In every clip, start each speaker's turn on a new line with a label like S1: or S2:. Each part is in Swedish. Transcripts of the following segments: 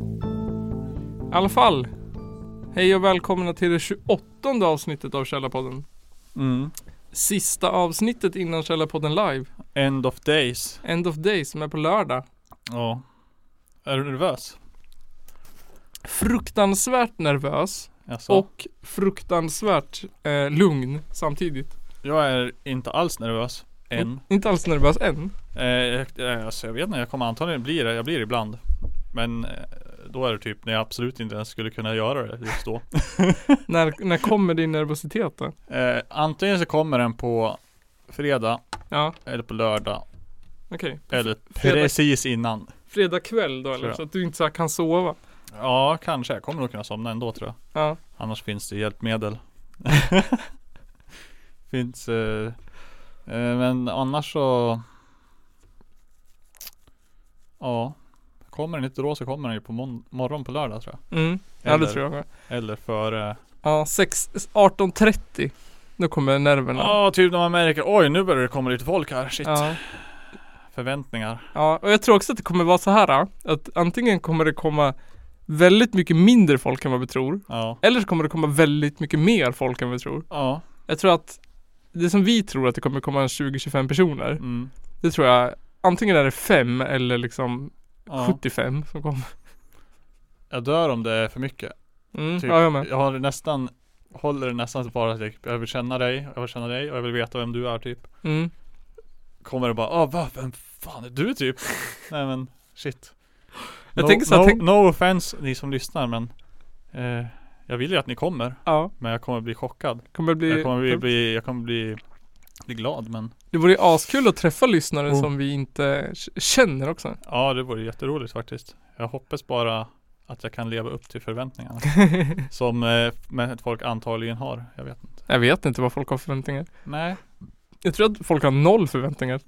S1: I alla fall. Hej och välkomna till det 28 avsnittet av Källarpodden.
S2: Mm.
S1: Sista avsnittet innan Källarpodden live.
S2: End of days.
S1: End of day som är på lördag.
S2: Ja. Är du nervös?
S1: Fruktansvärt nervös
S2: Alltså,
S1: och fruktansvärt eh, lugn samtidigt.
S2: Jag är inte alls nervös. Än.
S1: Inte alls nervös än.
S2: Eh, jag- eh, alltså, jag vet inte, jag kommer antagligen bli det. Jag blir det ibland. Men eh, då är det typ när jag absolut inte ens skulle kunna göra det just då.
S1: när, när kommer din nervositet då?
S2: Eh, antingen så kommer den på fredag
S1: Ja,
S2: eller på lördag.
S1: okej.
S2: Eller
S1: fredag-
S2: precis innan.
S1: Fredag kväll då eller?
S2: Tror jag.
S1: Så att du inte så här kan sova.
S2: Ja, kanske. Jag kommer nog kunna somna ändå tror jag.
S1: Ja.
S2: Annars finns det hjälpmedel. finns. Eh, eh, men annars så. Ja. Kommer den inte då så kommer den ju på mon- morgon på lördag tror jag.
S1: Mm. Ja
S2: Eller-
S1: det tror jag med.
S2: Eller före.
S1: Ja, sex- 18.30. Då kommer nerverna.
S2: Ja, typ när man märker. Oj, nu börjar det komma lite folk här. Shit.
S1: Ja.
S2: Förväntningar.
S1: Ja, och jag tror också att det kommer vara så här ah, att antingen kommer det komma väldigt mycket mindre folk än vad vi tror.
S2: Ja.
S1: Eller så kommer det komma väldigt mycket mer folk än vad vi tror.
S2: Ja.
S1: Jag tror att det som vi tror att det kommer komma en 20-25 personer.
S2: Mm.
S1: Det tror jag antingen är det fem eller liksom
S2: Ja.
S1: 75 som kommer.
S2: Jag dör om det är för mycket.
S1: Mm,
S2: Typ.
S1: Ja, jag med.
S2: Jag har nästan Håller det nästan bara typ Jag vill känna dig Jag vill känna dig och jag vill veta vem du är typ
S1: Mm.
S2: Kommer det bara ah va, vem fan är du typ? Nej men shit
S1: Jag
S2: no,
S1: tänker så här,
S2: no,
S1: tänk-
S2: no offense ni som lyssnar men eh, Jag vill ju att ni kommer
S1: Ja,
S2: Men jag kommer bli chockad
S1: kommer bli,
S2: Jag kommer bli, bli Jag kommer bli Bli glad men
S1: Det vore ju askul att träffa lyssnare
S2: Oh.
S1: som vi inte k- känner också.
S2: Ja det vore jätteroligt faktiskt Jag hoppas bara Att jag kan leva upp till förväntningarna Som eh, men folk antagligen har Jag vet inte
S1: jag vet inte vad folk har för förväntningar.
S2: Nej
S1: Jag tror att folk har noll förväntningar.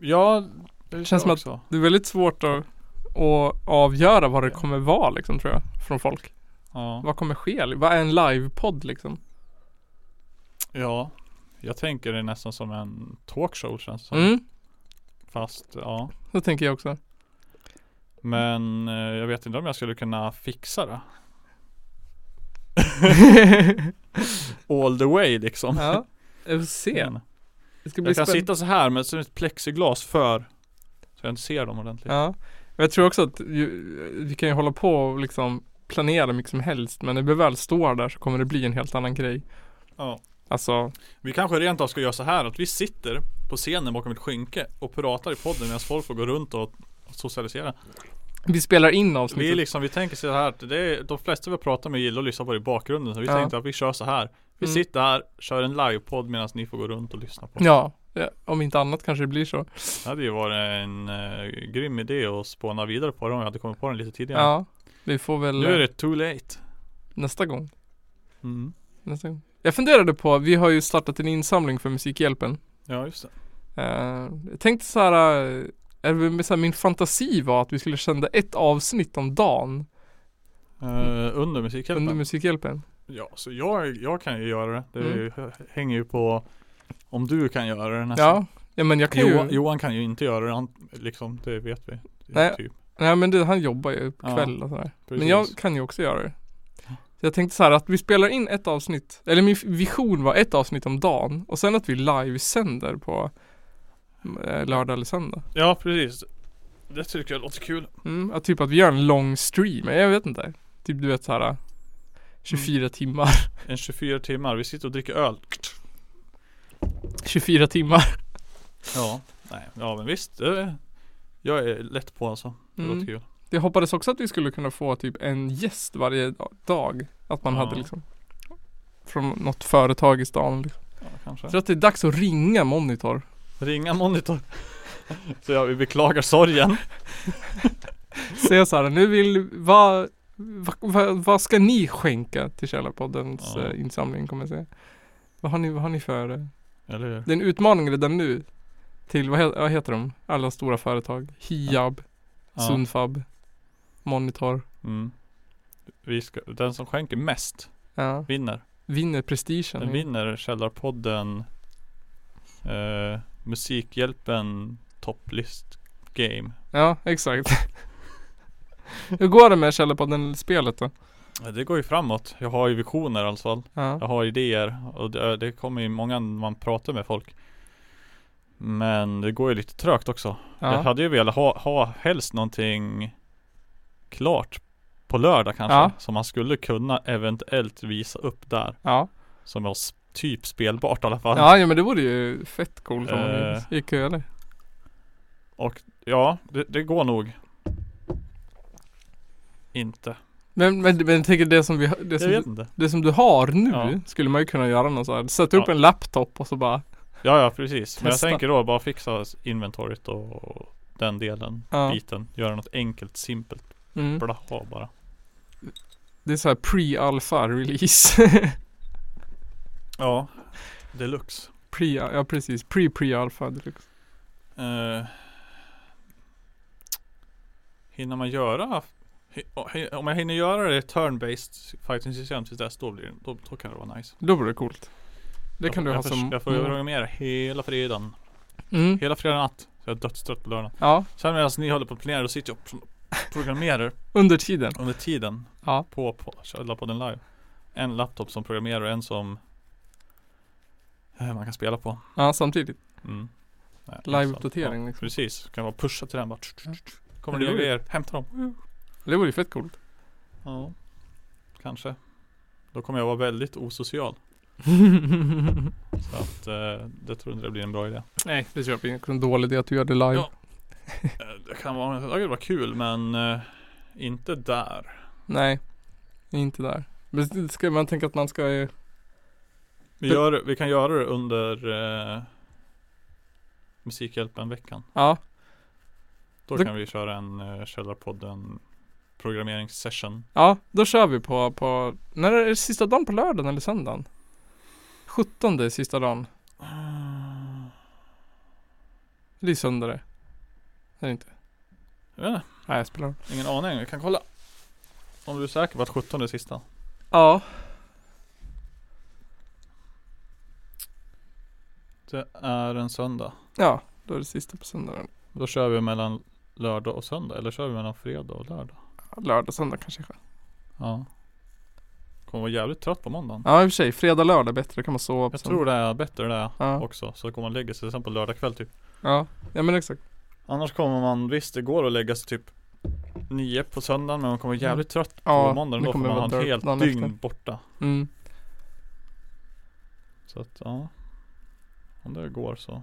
S2: Ja Det
S1: Känns som att-
S2: också.
S1: Det är väldigt svårt att, att avgöra vad det kommer vara liksom tror jag. Från folk.
S2: Ja
S1: Vad kommer ske? Vad är en livepodd liksom?
S2: Ja, jag tänker det nästan som en talkshow känns det som.
S1: Mm,
S2: Fast ja.
S1: det tänker jag också.
S2: Men eh, jag vet inte om jag skulle kunna fixa det. All the way liksom.
S1: ja, jag får se.
S2: Men
S1: Det ska bli
S2: Jag kan
S1: spännande.
S2: sitta så här med som ett plexiglas för. Så jag inte ser dem ordentligt.
S1: Ja. Men Jag tror också att ju, vi kan ju hålla på och liksom planera mycket som helst. Men när vi väl står där så kommer det bli en helt annan grej.
S2: Ja.
S1: Alltså,
S2: Vi kanske rent av ska göra så här att vi sitter på scenen bakom ett skynke och pratar i podden medan folk får gå runt och socialisera.
S1: vi spelar in
S2: Vi, är
S1: avsnittet.
S2: liksom, vi tänker så här att det är, de flesta vi pratar med gillar att lyssna på det i bakgrunden. Så vi
S1: Ja.
S2: tänkte att vi kör så här. Vi
S1: Mm.
S2: sitter här, kör en livepodd medan ni får gå runt och lyssna på.
S1: Ja, ja, om inte annat kanske det blir så.
S2: Det hade ju varit en eh, grym idé att spåna vidare på det om jag hade kommit på den lite tidigare.
S1: Ja, vi får väl eh,
S2: Nu är det too late.
S1: nästa gång.
S2: Mm.
S1: Nästa gång. Jag funderade på, vi har ju startat en insamling för Musikhjälpen.
S2: Ja just det.
S1: Eh, jag tänkte så här, eh, är det väl så här, min fantasi var att vi skulle sända ett avsnitt om dagen
S2: Eh, under musikhjälpen.
S1: Mm. under Musikhjälpen.
S2: ja, så jag, jag kan ju göra det. Det är
S1: Mm.
S2: ju, hänger ju på om du kan göra det nästan.
S1: Ja, ja men jag kan ju,
S2: Johan, Johan kan ju inte göra det, han, liksom det vet vi.
S1: Nej,
S2: typ.
S1: nej men det, han jobbar ju på
S2: Ja,
S1: kväll och sådär. Men
S2: Precis.
S1: jag kan ju också göra det. Så jag tänkte så här att vi spelar in ett avsnitt, eller min vision var ett avsnitt om dagen och sen att vi livesänder på eh, lördag eller söndag.
S2: Ja precis. Det tycker jag låter kul.
S1: Mm, ja, typ att vi gör en lång stream, jag vet inte. Typ du vet
S2: Mm.
S1: såhär 24 timmar.
S2: En 24 timmar, vi sitter och dricker öl.
S1: 24 timmar.
S2: Ja, nej, ja men visst. Det, jag är lätt på alltså. Det
S1: Mm.
S2: låter kul.
S1: Jag hoppades också att vi skulle kunna få typ en gäst varje da- dag. Att man
S2: Ja.
S1: hade liksom från något företag i stan. Liksom.
S2: Ja, kanske.
S1: Jag tror att det är dags att ringa Monitor.
S2: Ringa monitor. Så jag vi beklagar sorgen.
S1: Säga såhär, nu vill, vad, vad, vad, vad ska ni skänka till Källarpoddens
S2: Ja.
S1: eh, insamling kommer jag säga. Vad har ni, vad har ni för? eh?
S2: Eller hur?
S1: Det är en utmaning redan nu. Till, vad, he- vad heter de? Alla stora företag. Hiab.
S2: Ja.
S1: Sundfab Monitor
S2: Mm. Vi ska, den som skänker mest
S1: ja.
S2: vinner.
S1: Vinner liksom.
S2: Den
S1: prestigen
S2: vinner Källarpodden eh, Musikhjälpen topplist game.
S1: Ja, exakt. Hur går det med Källarpodden-spelet då?
S2: Ja, Det går ju framåt. Jag har ju visioner i alla fall. Jag
S1: Ja.
S2: har idéer och det, det kommer ju många när man pratar med folk. Men det går ju lite trögt också. Jag
S1: Ja.
S2: hade ju velat ha, ha helst någonting klart på lördag kanske.
S1: Ja.
S2: Som man skulle kunna eventuellt visa upp där.
S1: Ja.
S2: Som var s- typ spelbart i alla fall.
S1: ja, ja men det vore ju fett coolt om man
S2: Eh.
S1: gick och eller?
S2: Ja, det, det går nog. Inte.
S1: Men, men, men jag tänker det som, vi, det,
S2: Jag
S1: som,
S2: vet inte.
S1: det som du har nu
S2: Ja.
S1: skulle man ju kunna göra någon så här. Sätta upp
S2: Ja.
S1: en laptop och så bara
S2: Ja, ja precis. Men jag
S1: Testa.
S2: tänker då bara fixa inventoriet och den delen,
S1: Ja.
S2: biten. Göra något enkelt, simpelt,
S1: mm.
S2: blaha bara.
S1: Det är så här pre-alpha release
S2: Ja, deluxe.
S1: Pre, ja precis, pre-pre-alpha deluxe
S2: Eh, hinner man göra hi- om jag hinner göra det turn-based fighting system tills dess då, blir det, då, då kan det vara nice.
S1: Då vore det coolt Det
S2: jag,
S1: kan du
S2: jag
S1: ha
S2: förs-
S1: som
S2: Jag får
S1: mål.
S2: programmera hela fredagen.
S1: mm.
S2: Hela fredag natt. Så jag är dödstrött på lördagen.
S1: Ja,
S2: Sen medan ni håller på att planera då sitter jag och pro- programmerar
S1: under tiden
S2: under tiden
S1: Ja,
S2: på, på Källarpodden live. En laptop som programmerar och en som eh, man kan spela på.
S1: ja samtidigt
S2: Mm. Nej,
S1: Live-uppdatering
S2: så- Ja,
S1: liksom.
S2: precis, kan vara pusha till den bara. Kommer
S1: Men det
S2: det
S1: vore-
S2: grejer, hämta dem.
S1: Det vore ju fett coolt
S2: Ja, kanske. Då kommer jag vara väldigt osocial. Så att eh, det tror inte det blir en bra idé.
S1: Nej, det köper jag inte. En dålig idé att du gör det live
S2: Ja. Eh, Det kan vara, det kan vara kul men eh, inte där.
S1: Nej, inte där Men det ska man tänka att man ska ju
S2: Vi, gör, vi kan göra det under eh, Musikhjälpen-veckan.
S1: Ja,
S2: Då
S1: Då-
S2: kan vi köra en uh, Källarpodden programmeringssession.
S1: ja då kör vi på, på När är det sista dagen på lördagen eller söndagen? 17 är sista dagen Det är söndag det Är det inte?
S2: Jag vet inte,
S1: Nej, jag spelar
S2: ingen aning. Vi kan kolla. Om du är säker på att 17 är sista.
S1: Ja,
S2: Det är en söndag.
S1: ja då är det sista på söndagen
S2: Då kör vi mellan lördag och söndag. Eller kör vi mellan fredag och lördag?
S1: Lördag, söndag kanske
S2: Ja. Kommer vara jävligt trött på måndagen.
S1: Ja i och för sig, fredag, lördag är bättre, då kan man sova på
S2: Jag
S1: söndag.
S2: tror det är bättre det
S1: Ja.
S2: också. Så kommer man lägga sig sen på lördag kväll typ.
S1: Ja, ja men exakt
S2: Annars kommer man, visst det går att lägga sig typ nio på söndagen men man kommer vara jävligt trött på
S1: Mm. Ja,
S2: måndagen
S1: det
S2: då för
S1: kommer
S2: man
S1: vara
S2: har ett
S1: trött dagen
S2: helt
S1: efter.
S2: dygn borta.
S1: mm.
S2: Så att ja. Om det går så.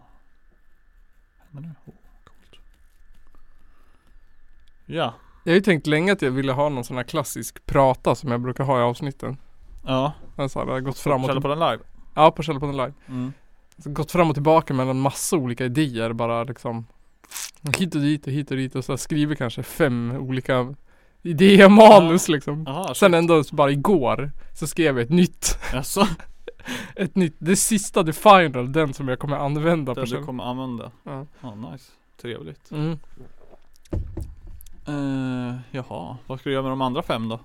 S2: Händer det? Oh, coolt. Ja.
S1: Jag har ju tänkt länge att jag ville ha någon sån här klassisk prata som jag brukar ha i avsnitten
S2: Ja.
S1: Men så här, det har gått fram och
S2: Källa på
S1: tillbaka
S2: den live.
S1: Ja, på Källarpodden live
S2: Mm.
S1: Så Alltså, Gått fram och tillbaka mellan massa olika idéer bara liksom Hit och dit och hit och dit och så här, skriver kanske fem olika idéer manus liksom
S2: Jaha,
S1: Sen ändå så bara igår så skrev jag ett nytt
S2: Jaså?
S1: Ett nytt, det sista, the final, den som jag kommer använda på
S2: Den du
S1: Källarpodden
S2: kommer använda?
S1: Ja.
S2: Ja, nice. Trevligt.
S1: mm.
S2: Uh, jaha, vad ska du göra med de andra fem då?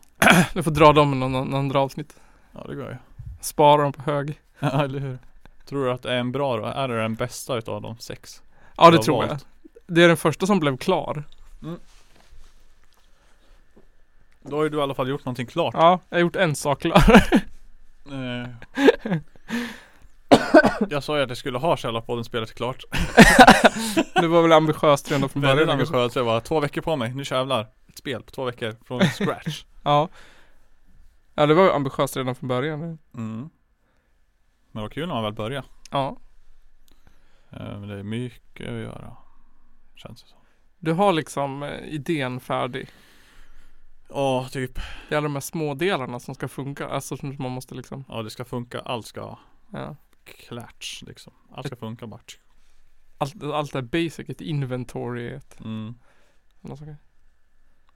S1: Jag får dra dem i någon, någon andra avsnitt
S2: Ja det går ju.
S1: Spara dem på hög
S2: Ja eller hur? Tror du att det är en bra då? Är det den bästa utav de sex?
S1: Ja
S2: du
S1: det
S2: har
S1: tror jag
S2: valt?
S1: Det är den första som blev klar
S2: Då har ju du i alla fall gjort någonting klart.
S1: Ja, jag har gjort en sak klar
S2: Eh, jag sa ju att jag skulle ha Källarpodden spelet klart.
S1: Det var väl ambitiöst redan från
S2: Väldigt
S1: början
S2: ambitiöst. Jag bara, två veckor på mig. Nu jävlar. Ett spel på två veckor. Från scratch.
S1: Ja Ja det var ju ambitiöst redan från början
S2: Mm. Men det var kul när man väl började.
S1: Ja
S2: Eh, men det är mycket att göra. Känns det som.
S1: Du har liksom eh, idén färdig
S2: Ja, typ.
S1: Det är alla de här små delarna som ska funka Alltså som man måste liksom
S2: Ja det ska funka, allt ska
S1: ja.
S2: klatsch liksom. Allt ska funka bara. tsk.
S1: Allt, allt det här basic, ett inventory ett,
S2: Mm.
S1: sådana saker.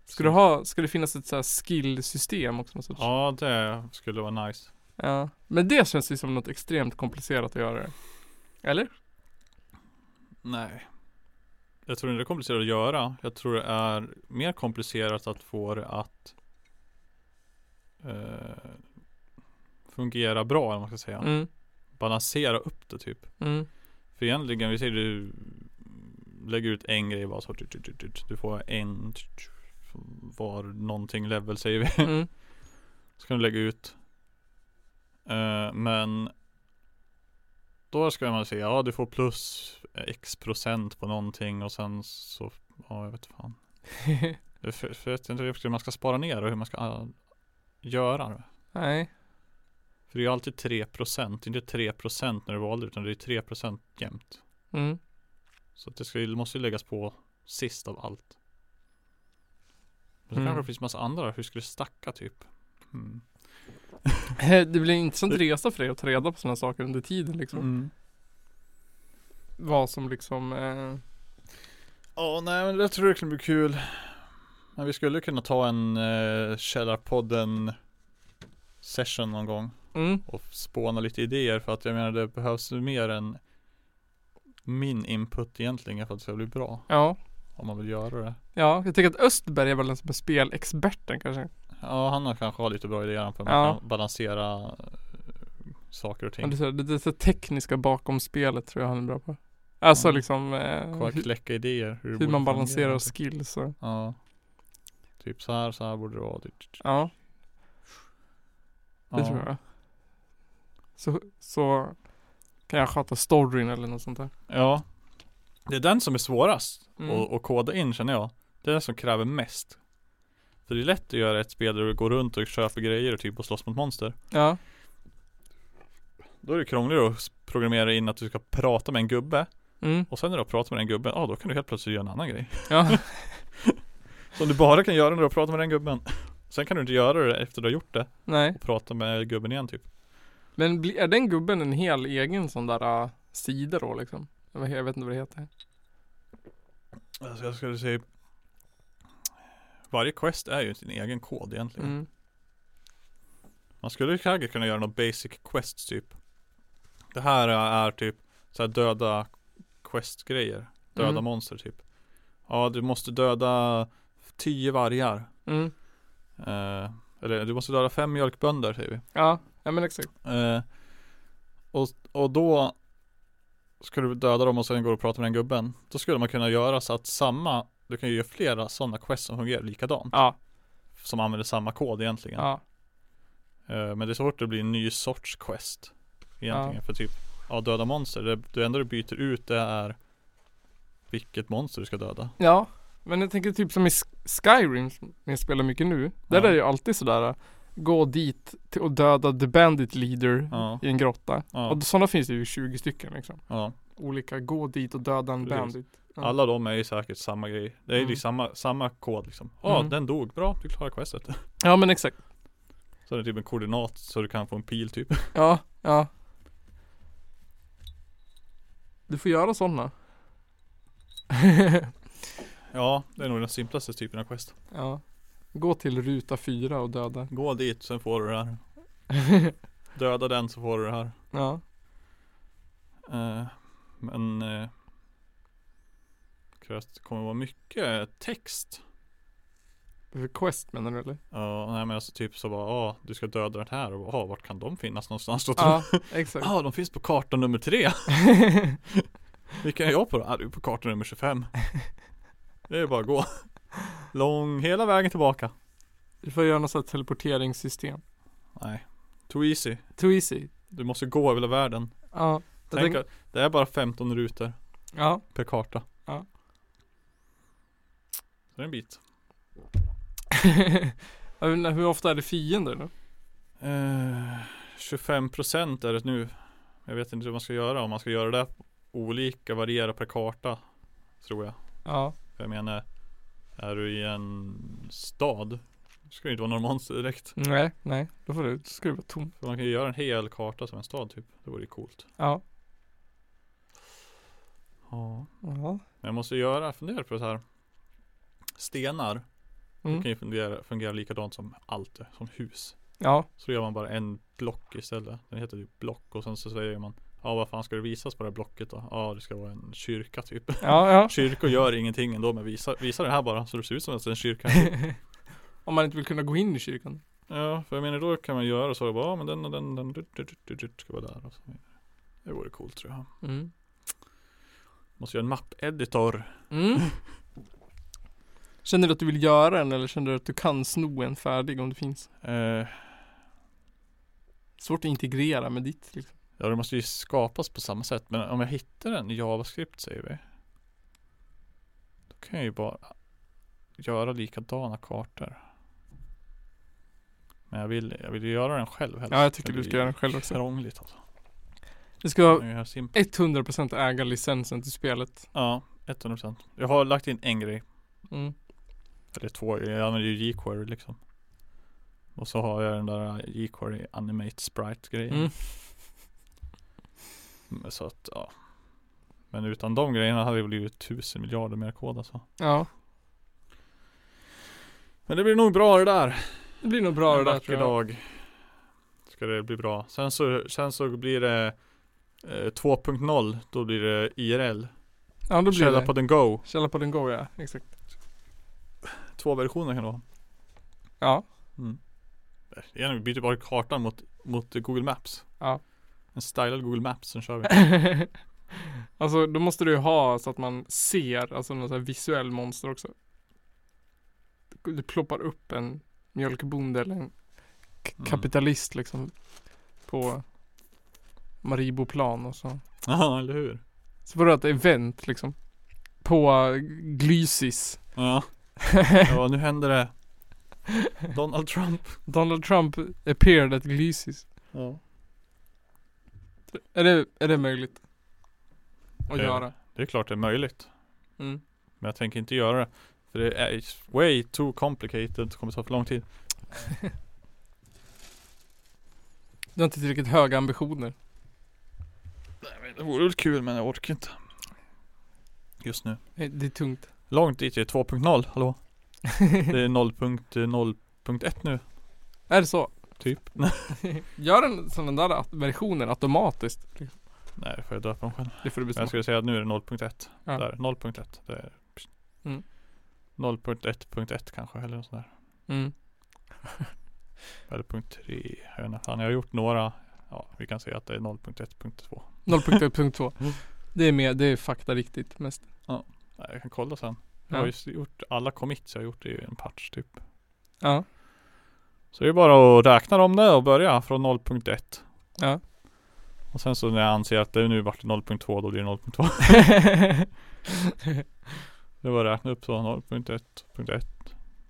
S1: Ska du ha, ska det finnas ett så här skill-system också? Något sorts?
S2: Ja det skulle vara nice.
S1: ja Men det känns ju som något extremt komplicerat att göra Eller?
S2: Nej. Jag tror inte det är komplicerat att göra. Jag tror det är mer komplicerat att få det att eh, fungera bra eller vad man ska säga.
S1: Mm,
S2: Balansera upp det typ.
S1: mm,
S2: För För egentligen, vi säger du lägger ut en grej bara så. tut, tut, tut, tut. Du får en tut, var någonting level säger vi.
S1: Mm.
S2: Så kan du lägga ut. Eh, men då ska man säga ja du får plus x procent på någonting och sen så, ja jag vet fan. Jag f- f- vet inte riktigt hur man ska spara ner och hur man ska ah, göra. det.
S1: Nej.
S2: För det är ju alltid 3 procent, inte 3 procent när du valde utan det är 3 procent jämt.
S1: Mm.
S2: Så att det ska, ju- måste ju läggas på sist av allt. Men så
S1: Mm.
S2: kanske det finns massa andra, hur skulle det stacka typ? Mm.
S1: Det blir en intressant resa för dig att ta reda på sådana saker under tiden liksom.
S2: Mm.
S1: Vad som liksom eh,
S2: Ja, nej men jag tror det kan bli kul. Men vi skulle kunna ta en eh, Källarpodden session någon gång
S1: mm.
S2: och spåna lite idéer för att jag menar det behövs ju mer än min input egentligen för att det ska bli bra
S1: Ja.
S2: om man vill göra det.
S1: Ja, jag tycker att Östberg är väl den som är spelexperten kanske.
S2: Mm. Ja, han har kanske har lite bra idéer på hur
S1: Ja.
S2: man kan balansera eh, saker och
S1: Ja,
S2: ting.
S1: Det, är så- det, det, är så tekniska bakom spelet tror jag han är bra på. Alltså
S2: Ja.
S1: liksom eh,
S2: Kolla,
S1: hur,
S2: kläcka idéer. det
S1: hur
S2: borde
S1: man
S2: fungera,
S1: balanserar
S2: typ.
S1: skills och,
S2: Ja. Typ så här, så här borde det vara. typ.
S1: ja. Det
S2: Ja.
S1: tror jag. Så, så kan jag sköta storyn eller något sånt där.
S2: Ja Det är den som är svårast
S1: Mm.
S2: att, att koda in känner jag Det är den som kräver mest För det är lätt att göra ett spel där du går runt och köper grejer och typ och slåss mot monster
S1: Ja.
S2: Då är det krångligare att s- programmera in att du ska prata med en gubbe
S1: Mm.
S2: Och sen när du har pratat med den gubben, ja då kan du helt plötsligt göra en annan grej
S1: Ja.
S2: Som du bara kan göra när du har pratat med den gubben Sen kan du inte göra det efter du har gjort det
S1: Nej.
S2: och prata med gubben igen typ
S1: Men bli, är den gubben en hel egen sån där ah, sida då liksom? Jag vet- Jag vet inte vad det heter.
S2: Alltså jag skulle säga Varje quest är ju sin egen kod egentligen
S1: Mm.
S2: Man skulle kanske kunna göra något basic quest typ Det här är typ så här döda quest-grejer Döda
S1: Mm.
S2: monster typ Ja du måste döda 10 vargar
S1: Mm.
S2: eh, Eller du måste döda fem mjölkbönder säger vi
S1: Ja. ja, men exakt.
S2: eh, och, och då Ska du döda dem och sen går du och pratar med den gubben Då skulle man kunna göra så att samma Du kan ju göra flera sådana quest som fungerar likadant
S1: Ja,
S2: Som använder samma kod egentligen
S1: ja.
S2: Eh, Men det är svårt att bli en ny sorts quest Egentligen för typ Ja döda monster, det, det enda du byter ut det är Vilket monster du ska döda
S1: Ja, men jag tänker typ som i Sk- Skyrim som jag spelar mycket nu. Där
S2: Ja.
S1: är det ju alltid sådär äh, gå dit till- och döda the bandit leader
S2: Ja,
S1: i en grotta.
S2: ja,
S1: Och sådana finns det ju 20 stycken liksom.
S2: ja.
S1: Olika, gå dit och döda en
S2: Precis.
S1: bandit. Ja.
S2: Alla de är ju säkert samma grej Det är ju
S1: Mm.
S2: samma, samma kod liksom Ja
S1: Mm.
S2: den dog, bra du klarar questet
S1: Ja men exakt.
S2: Så är det typ en koordinat så du kan få en pil typ
S1: Ja, ja. Du får göra sådana.
S2: Ja det är nog den simplaste typen av quest
S1: ja. Gå till ruta 4 och döda.
S2: Gå dit sen får du det här Döda den så får du det här
S1: ja.
S2: Eh, Men eh, Krävs det kommer vara mycket text
S1: För quest menar du eller?
S2: Ja, nej men alltså typ så bara, ja du ska döda den här och bara, ja vart kan de finnas någonstans då? Ja,
S1: Ja, exakt.
S2: ah, de finns på karta nummer tre! Vilken är jag på då? Ah, du är på karta nummer 25 Det är bara att gå Lång, hela vägen tillbaka
S1: Du får göra något sånt här teleporteringssystem.
S2: Nej, too easy
S1: Too easy.
S2: Du måste gå över hela världen
S1: Ja. Jag
S2: Tänk
S1: tänk-
S2: att det är bara 15 rutor
S1: Ja.
S2: per karta
S1: Ja.
S2: Så det är en bit
S1: Jag vet inte, Hur ofta är det fiender då?
S2: Eh, 25% är det nu. Jag vet inte hur man ska göra. Om man ska göra det olika, variera per karta. Tror jag.
S1: Ja.
S2: För jag menar, är du i en stad. Då ska det inte vara några monster direkt.
S1: Nej, nej. Då får du skruva tom.
S2: För man kan ju göra en hel karta som en stad typ. Det vore ju coolt.
S1: Ja.
S2: Ja.
S1: Ja.
S2: Men jag måste göra, fundera på så här. Stenar.
S1: Mm.
S2: kan ju fungera, fungera likadant som allt, det, som hus.
S1: Ja.
S2: Så gör man bara en block istället. Den heter typ block och sen så säger man Ja vad fan ska det visas på det här blocket då? Ja det ska vara en kyrka typ
S1: Ja, ja.
S2: Kyrkor gör ingenting ändå men visa, visa det här bara så det ser ut som att det är en kyrka
S1: Om man inte vill kunna gå in i kyrkan.
S2: Ja för jag menar då kan man göra så bara ja men den och den, den du, du, du, du, du, ska vara där och så vidare. Det vore coolt tror jag
S1: Mm.
S2: Måste göra en mappeditor.
S1: Mm. Känner du att du vill göra en eller känner du att du kan sno en färdig om det finns?
S2: Eh,
S1: Svårt att integrera med ditt liksom.
S2: ja, det måste ju skapas på samma sätt. Men om jag hittar en i JavaScript säger vi. Då kan jag ju bara göra likadana kartor. Men jag vill, jag vill ju göra den själv helst.
S1: Ja, jag tycker
S2: Det
S1: du ska
S2: blir
S1: göra den själv också.
S2: Krångligt alltså.
S1: Du ska
S2: Jag gör simpelt.
S1: 100% äga licensen till spelet.
S2: Ja, 100%. Jag har lagt in en grej.
S1: Mm.
S2: Eller två, jag använder ju jQuery liksom. Och så har jag den där jQuery animate sprite grejen.
S1: Mm.
S2: Så att ja. Men utan de grejerna hade det blivit tusen miljarder mer kod alltså.
S1: Ja,
S2: Men det blir nog bra det där.
S1: det blir nog bra det
S2: en
S1: där
S2: vacker
S1: tror jag.
S2: dag. Ska det bli bra. Sen så, sen så blir det eh, 2.0. Då blir det IRL.
S1: Ja, då blir det.
S2: Källarpodden Go.
S1: Källarpodden Go ja, exakt.
S2: Två versioner kan det vara.
S1: Ja,
S2: Mm. Gärna, vi byter bara kartan mot, mot Google Maps.
S1: Ja.
S2: En stylad Google Maps, sen kör vi.
S1: alltså då måste du ju ha så att man ser, alltså någon sån här visuell monster också. Du ploppar upp en mjölkbonde eller en k-
S2: Mm.
S1: kapitalist liksom på Mariboplan och så.
S2: Ja, eller hur?
S1: Så får du ett event liksom. På eh, Glysis.
S2: Ja. ja, nu händer det. Donald Trump.
S1: Donald Trump appeared at Glysis.
S2: Ja.
S1: Är det, är det möjligt? Att
S2: Det är
S1: göra?
S2: Det är klart det är möjligt.
S1: Mm.
S2: Men jag tänker inte göra det. För det är it's way too complicated. Det kommer ta för lång tid.
S1: Du har inte tillräckligt höga ambitioner.
S2: Nej, men Det vore väl kul men jag orkar inte. Just nu.
S1: Nej, Det är tungt.
S2: Långt dit är 2.0, hallå? Det är eh, 0.0.1 nu,
S1: Är det så?
S2: typ.
S1: Gör den sådana där at- versioner automatiskt.
S2: Nej, det får jag döpa dem själv.
S1: Det får du
S2: Men jag
S1: bestämma.
S2: skulle säga att nu är det 0.1.
S1: Ja.
S2: Där, 0.1. Det är
S1: Mm.
S2: 0.1.1 kanske eller något sånt där.
S1: Mm.
S2: Eller punkt 3. Jag vet inte fan, jag har gjort några. Ja, vi kan säga att det är 0.1.2.
S1: 0.1.2.
S2: Mm.
S1: Det är med, det är fakta riktigt mest.
S2: Nej, jag kan kolla sen. Jag
S1: Ja.
S2: har just gjort alla commits jag har gjort i en patch typ.
S1: Ja.
S2: Så det är bara att räkna dem där och börja från 0.1.
S1: Ja.
S2: Och sen så när jag anser att det nu vart det 0.2 då blir det 0.2. Det var räkna upp så 0.1.1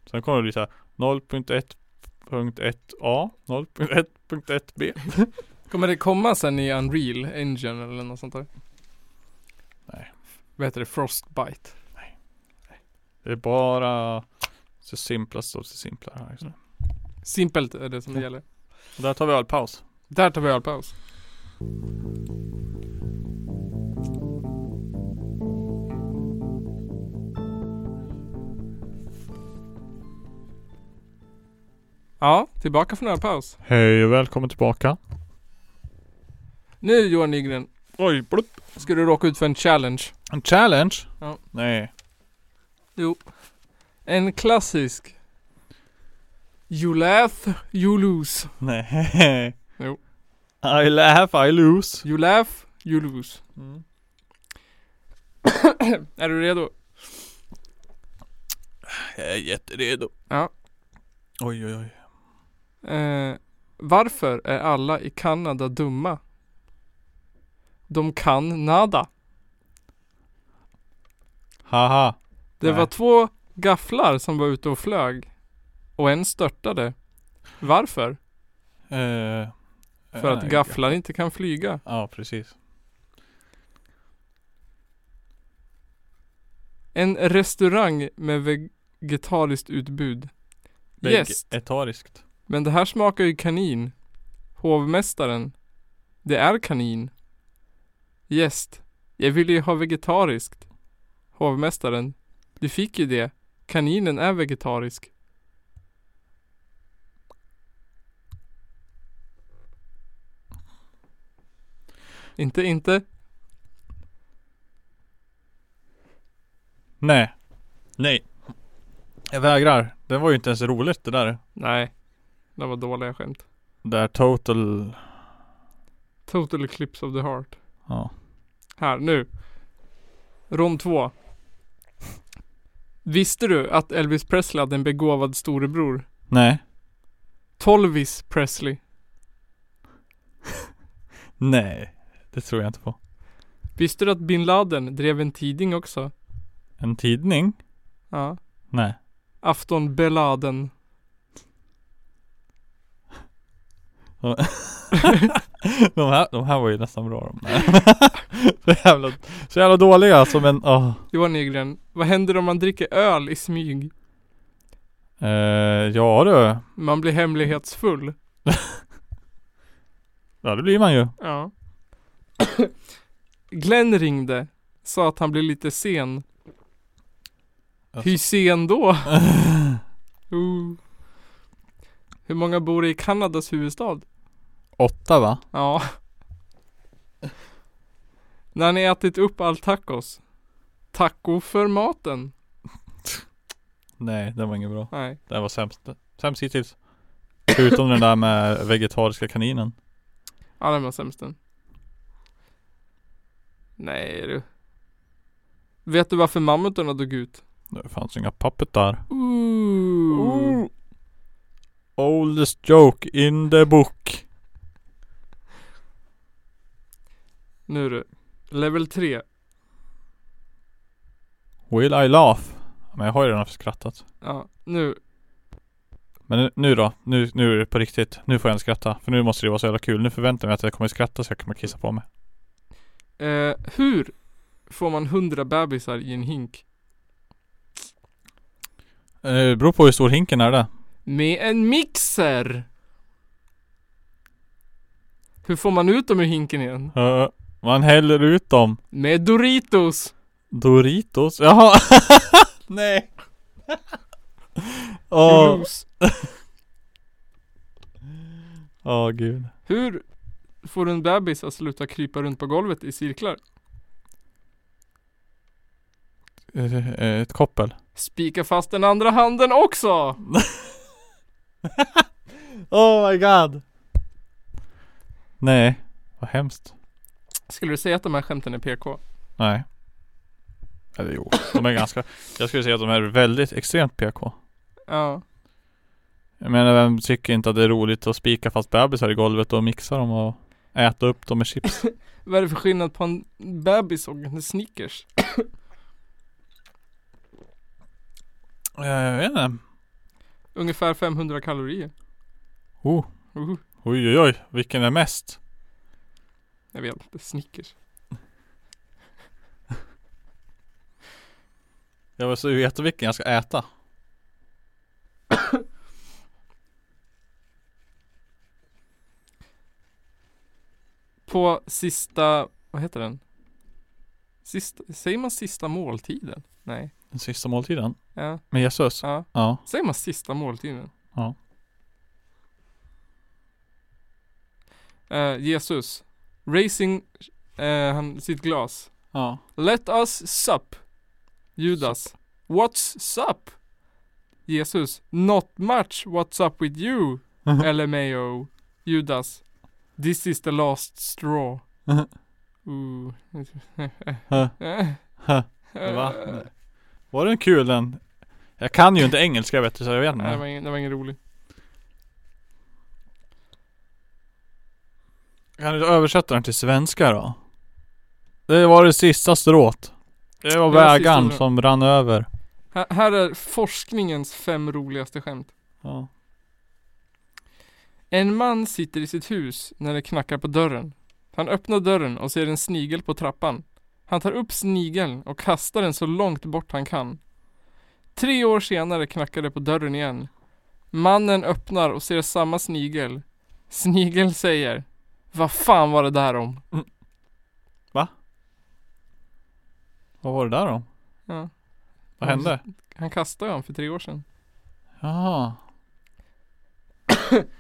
S2: Sen kommer det bli så här 0.1.1a 0.1.1b
S1: Kommer det komma sen i Unreal Engine eller något sånt där?
S2: Nej.
S1: Vad heter det? Frostbite.
S2: Det är bara så simplast av så simpla här just nu.
S1: Simpelt är det som det
S2: Ja.
S1: gäller.
S2: Och där tar vi ölpaus.
S1: Där tar vi ölpaus. Ja, tillbaka från ölpaus.
S2: Hej och välkommen tillbaka.
S1: Nu Johan Nygren,
S2: Oj, blupp.
S1: ska du råka ut för en challenge.
S2: En challenge?
S1: Ja.
S2: Nej.
S1: En klassisk. You laugh, you lose.
S2: Nej.
S1: Jo.
S2: I laugh, I lose.
S1: You laugh, you lose. Är du redo?
S2: Jag är jätteredo.
S1: Ja.
S2: Oj, oj, oj.
S1: Eh, varför är alla i Kanada dumma? De kan nada.
S2: Haha.
S1: Det
S2: Nej.
S1: var två gafflar som var ute och flög och en störtade. Varför?
S2: Eh,
S1: För att
S2: eh,
S1: gafflar inte kan flyga.
S2: Ja, precis.
S1: En restaurang med vegetariskt utbud. Gäst.
S2: Vegetariskt.
S1: Men det här smakar ju kanin. Hovmästaren. Det är kanin. Gäst. Jag ville ju ha vegetariskt. Hovmästaren. Du fick ju det. Kaninen är vegetarisk. Inte, inte.
S2: Nej. Nej. Jag vägrar. Det var ju inte ens roligt det där.
S1: Nej. Det var dåliga skämt.
S2: Det där total.
S1: Total eclipse of the heart.
S2: Ja.
S1: Här, nu. Rond 2. Visste du att Elvis Presley hade en begåvad storebror?
S2: Nej.
S1: Tolvis Presley.
S2: Nej. Det tror jag inte på.
S1: Visste du att bin Laden drev en tidning också?
S2: En tidning?
S1: Ja.
S2: Nej.
S1: Afton Beladen.
S2: De här, de här var ju nästan bra de. Nej. så, jävla, så jävla dåliga som en, åh.
S1: Johan Nygren, vad händer om man dricker öl i smyg?
S2: Eh, ja du.
S1: Man blir hemlighetsfull.
S2: Ja det blir man ju.
S1: Ja. Glenn ringde. Sa att han blev lite sen.
S2: Alltså.
S1: Hur sen då? Uh. Hur många bor i Kanadas huvudstad?
S2: Åtta va?
S1: Ja. När ni ätit upp all tacos. Taco för maten.
S2: Nej, den var inget bra.
S1: Nej.
S2: Den var sämst. Sämst hittills. Förutom den där med vegetariska kaninen.
S1: Ja, den var sämst den. Nej du. Vet du varför mammutarna dog ut?
S2: Det fanns inga pappetar. Mm.
S1: Ooh.
S2: Oldest joke in the book.
S1: Nu du. Level 3.
S2: Will I laugh? Men jag har ju redan skrattat.
S1: Ja, nu.
S2: Men nu, nu då? Nu, nu är det på riktigt. Nu får jag inte skratta. För nu måste det vara så jävla kul. Nu förväntar jag mig att jag kommer skratta så jag kommer kissa på mig.
S1: Eh, hur får man 100 bebisar i en hink?
S2: Eh, Det beror på hur stor hinken är där.
S1: Med en mixer! Hur får man ut dem ur hinken igen?
S2: Eh, Man häller ut dem.
S1: Med Doritos!
S2: Doritos. Jaha. Nej. Åh.
S1: Juice.
S2: Åh gud.
S1: Hur får du en bebis att sluta krypa runt på golvet i cirklar?
S2: Eh, eh, Ett koppel.
S1: Spika fast den andra handen också!
S2: Oh my god. Nej. Vad hemskt.
S1: Skulle du säga att de här skämten är PK?
S2: Nej. Eller jo. De är ganska. Jag skulle säga att de är väldigt extremt PK.
S1: Ja.
S2: Jag menar vem tycker inte att det är roligt att spika fast bebisar i golvet och mixa dem och äta upp dem med chips?
S1: Vad är det för skillnad på en bebis och en Snickers?
S2: Eh, Jag vet inte.
S1: Ungefär 500 kalorier.
S2: Oh.
S1: Uh,
S2: Oj oj oj. Vilken är mest?
S1: jag vet inte, Snickers.
S2: Jag vill så veta vilken jag ska äta.
S1: På sista, vad heter den? Sista, säger man sista måltiden? Nej.
S2: Den sista måltiden.
S1: Ja.
S2: Med Jesus.
S1: ja.
S2: Ja.
S1: Säger man sista måltiden?
S2: Ja.
S1: Eh, Jesus. Racing eh, han, sitt glas.
S2: Ja.
S1: Let us sup. Judas. What's sup? Jesus. Not much what's up with you. LMAO. Judas. This is the last straw. Ooh. Eh,
S2: Va? Nej. Var den kul den? Jag kan ju inte engelska vet du så jag vet
S1: Nej, det
S2: inte.
S1: var ingen, det var ingen rolig.
S2: Kan du översätta den till svenska då? Det var det sista strået. Det var
S1: Det var sista
S2: vägaren
S1: strået.
S2: som rann över.
S1: Här, här är forskningens fem roligaste skämt.
S2: Ja.
S1: En man sitter i sitt hus när det knackar på dörren. Han öppnar dörren och ser en snigel på trappan. Han tar upp snigeln och kastar den så långt bort han kan. Tre år senare knackar det på dörren igen. Mannen öppnar och ser samma snigel. Snigel säger Vad fan var det där om?
S2: Vad var det där då?
S1: Ja,
S2: Vad hände?
S1: han kastade ju han för tre år sedan.
S2: Jaha.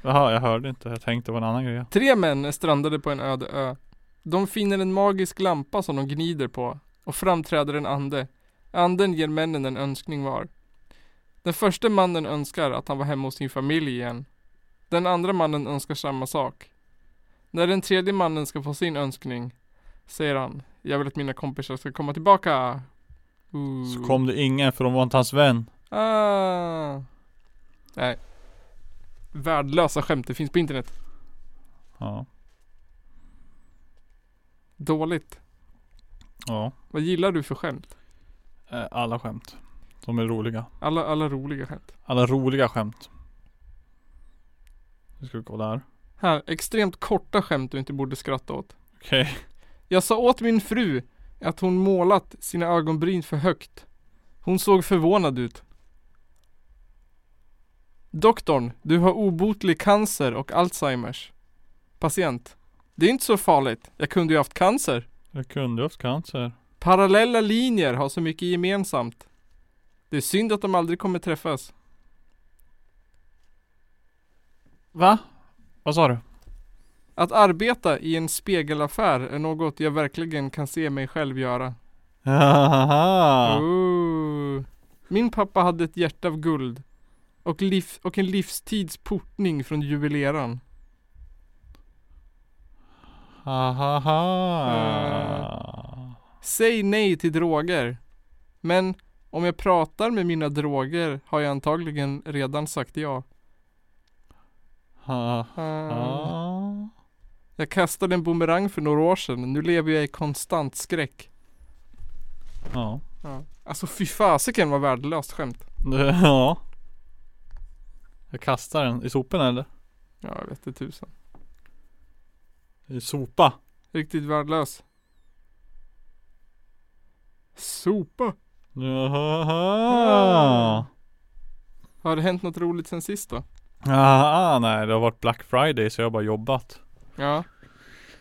S2: Jaha, jag hörde inte. Jag tänkte på en annan grej.
S1: Tre män är strandade på en öde ö. De finner en magisk lampa som de gnider på och framträder en ande. Anden ger männen en önskning var. Den första mannen önskar att han var hemma hos sin familj igen. Den andra mannen önskar samma sak. När den tredje mannen ska få sin önskning säger han Jag vill att mina kompisar ska komma tillbaka. Ooh.
S2: Så kom det ingen för de var inte hans vän.
S1: Ah. Nej. Värdelösa skämt, det finns på internet.
S2: Ja.
S1: Dåligt.
S2: Ja.
S1: Vad gillar du för skämt?
S2: Eh, Alla skämt. De är roliga.
S1: Alla, alla roliga skämt.
S2: Alla roliga skämt. Nu ska vi gå där.
S1: Här, extremt korta skämt du inte borde skratta åt.
S2: Okej.
S1: Jag sa åt min fru att hon målat sina ögonbryn för högt. Hon såg förvånad ut. Doktorn, du har obotlig cancer och Alzheimers. Patient. Det är inte så farligt. Jag kunde ju haft cancer.
S2: Jag kunde haft cancer.
S1: Parallella linjer har så mycket gemensamt. Det är synd att de aldrig kommer träffas.
S2: Va? Vad sa du?
S1: Att arbeta i en spegelaffär är något jag verkligen kan se mig själv göra. Mm.
S2: Haha.
S1: Ooh. Min pappa hade ett hjärta av guld och, liv, och en livstids portning från jubileran.
S2: Haha.
S1: Säg nej till droger. Men om jag pratar med mina droger har jag antagligen redan sagt ja.
S2: Haha.
S1: Ah. Jag kastade en bumerang för några år sedan. Nu lever jag i konstant skräck.
S2: Ja.
S1: Alltså fy fasiken vad värdelöst skämt.
S2: Det- Ja. Jag kastar den i soporna eller?
S1: Ja, jag vet det tusan.
S2: I sopa.
S1: Riktigt värdelös. Sopa.
S2: Jaha.
S1: Ah. Har det hänt något roligt sen sist då?
S2: Ah, nej det har varit Black Friday så jag har bara jobbat.
S1: Ja.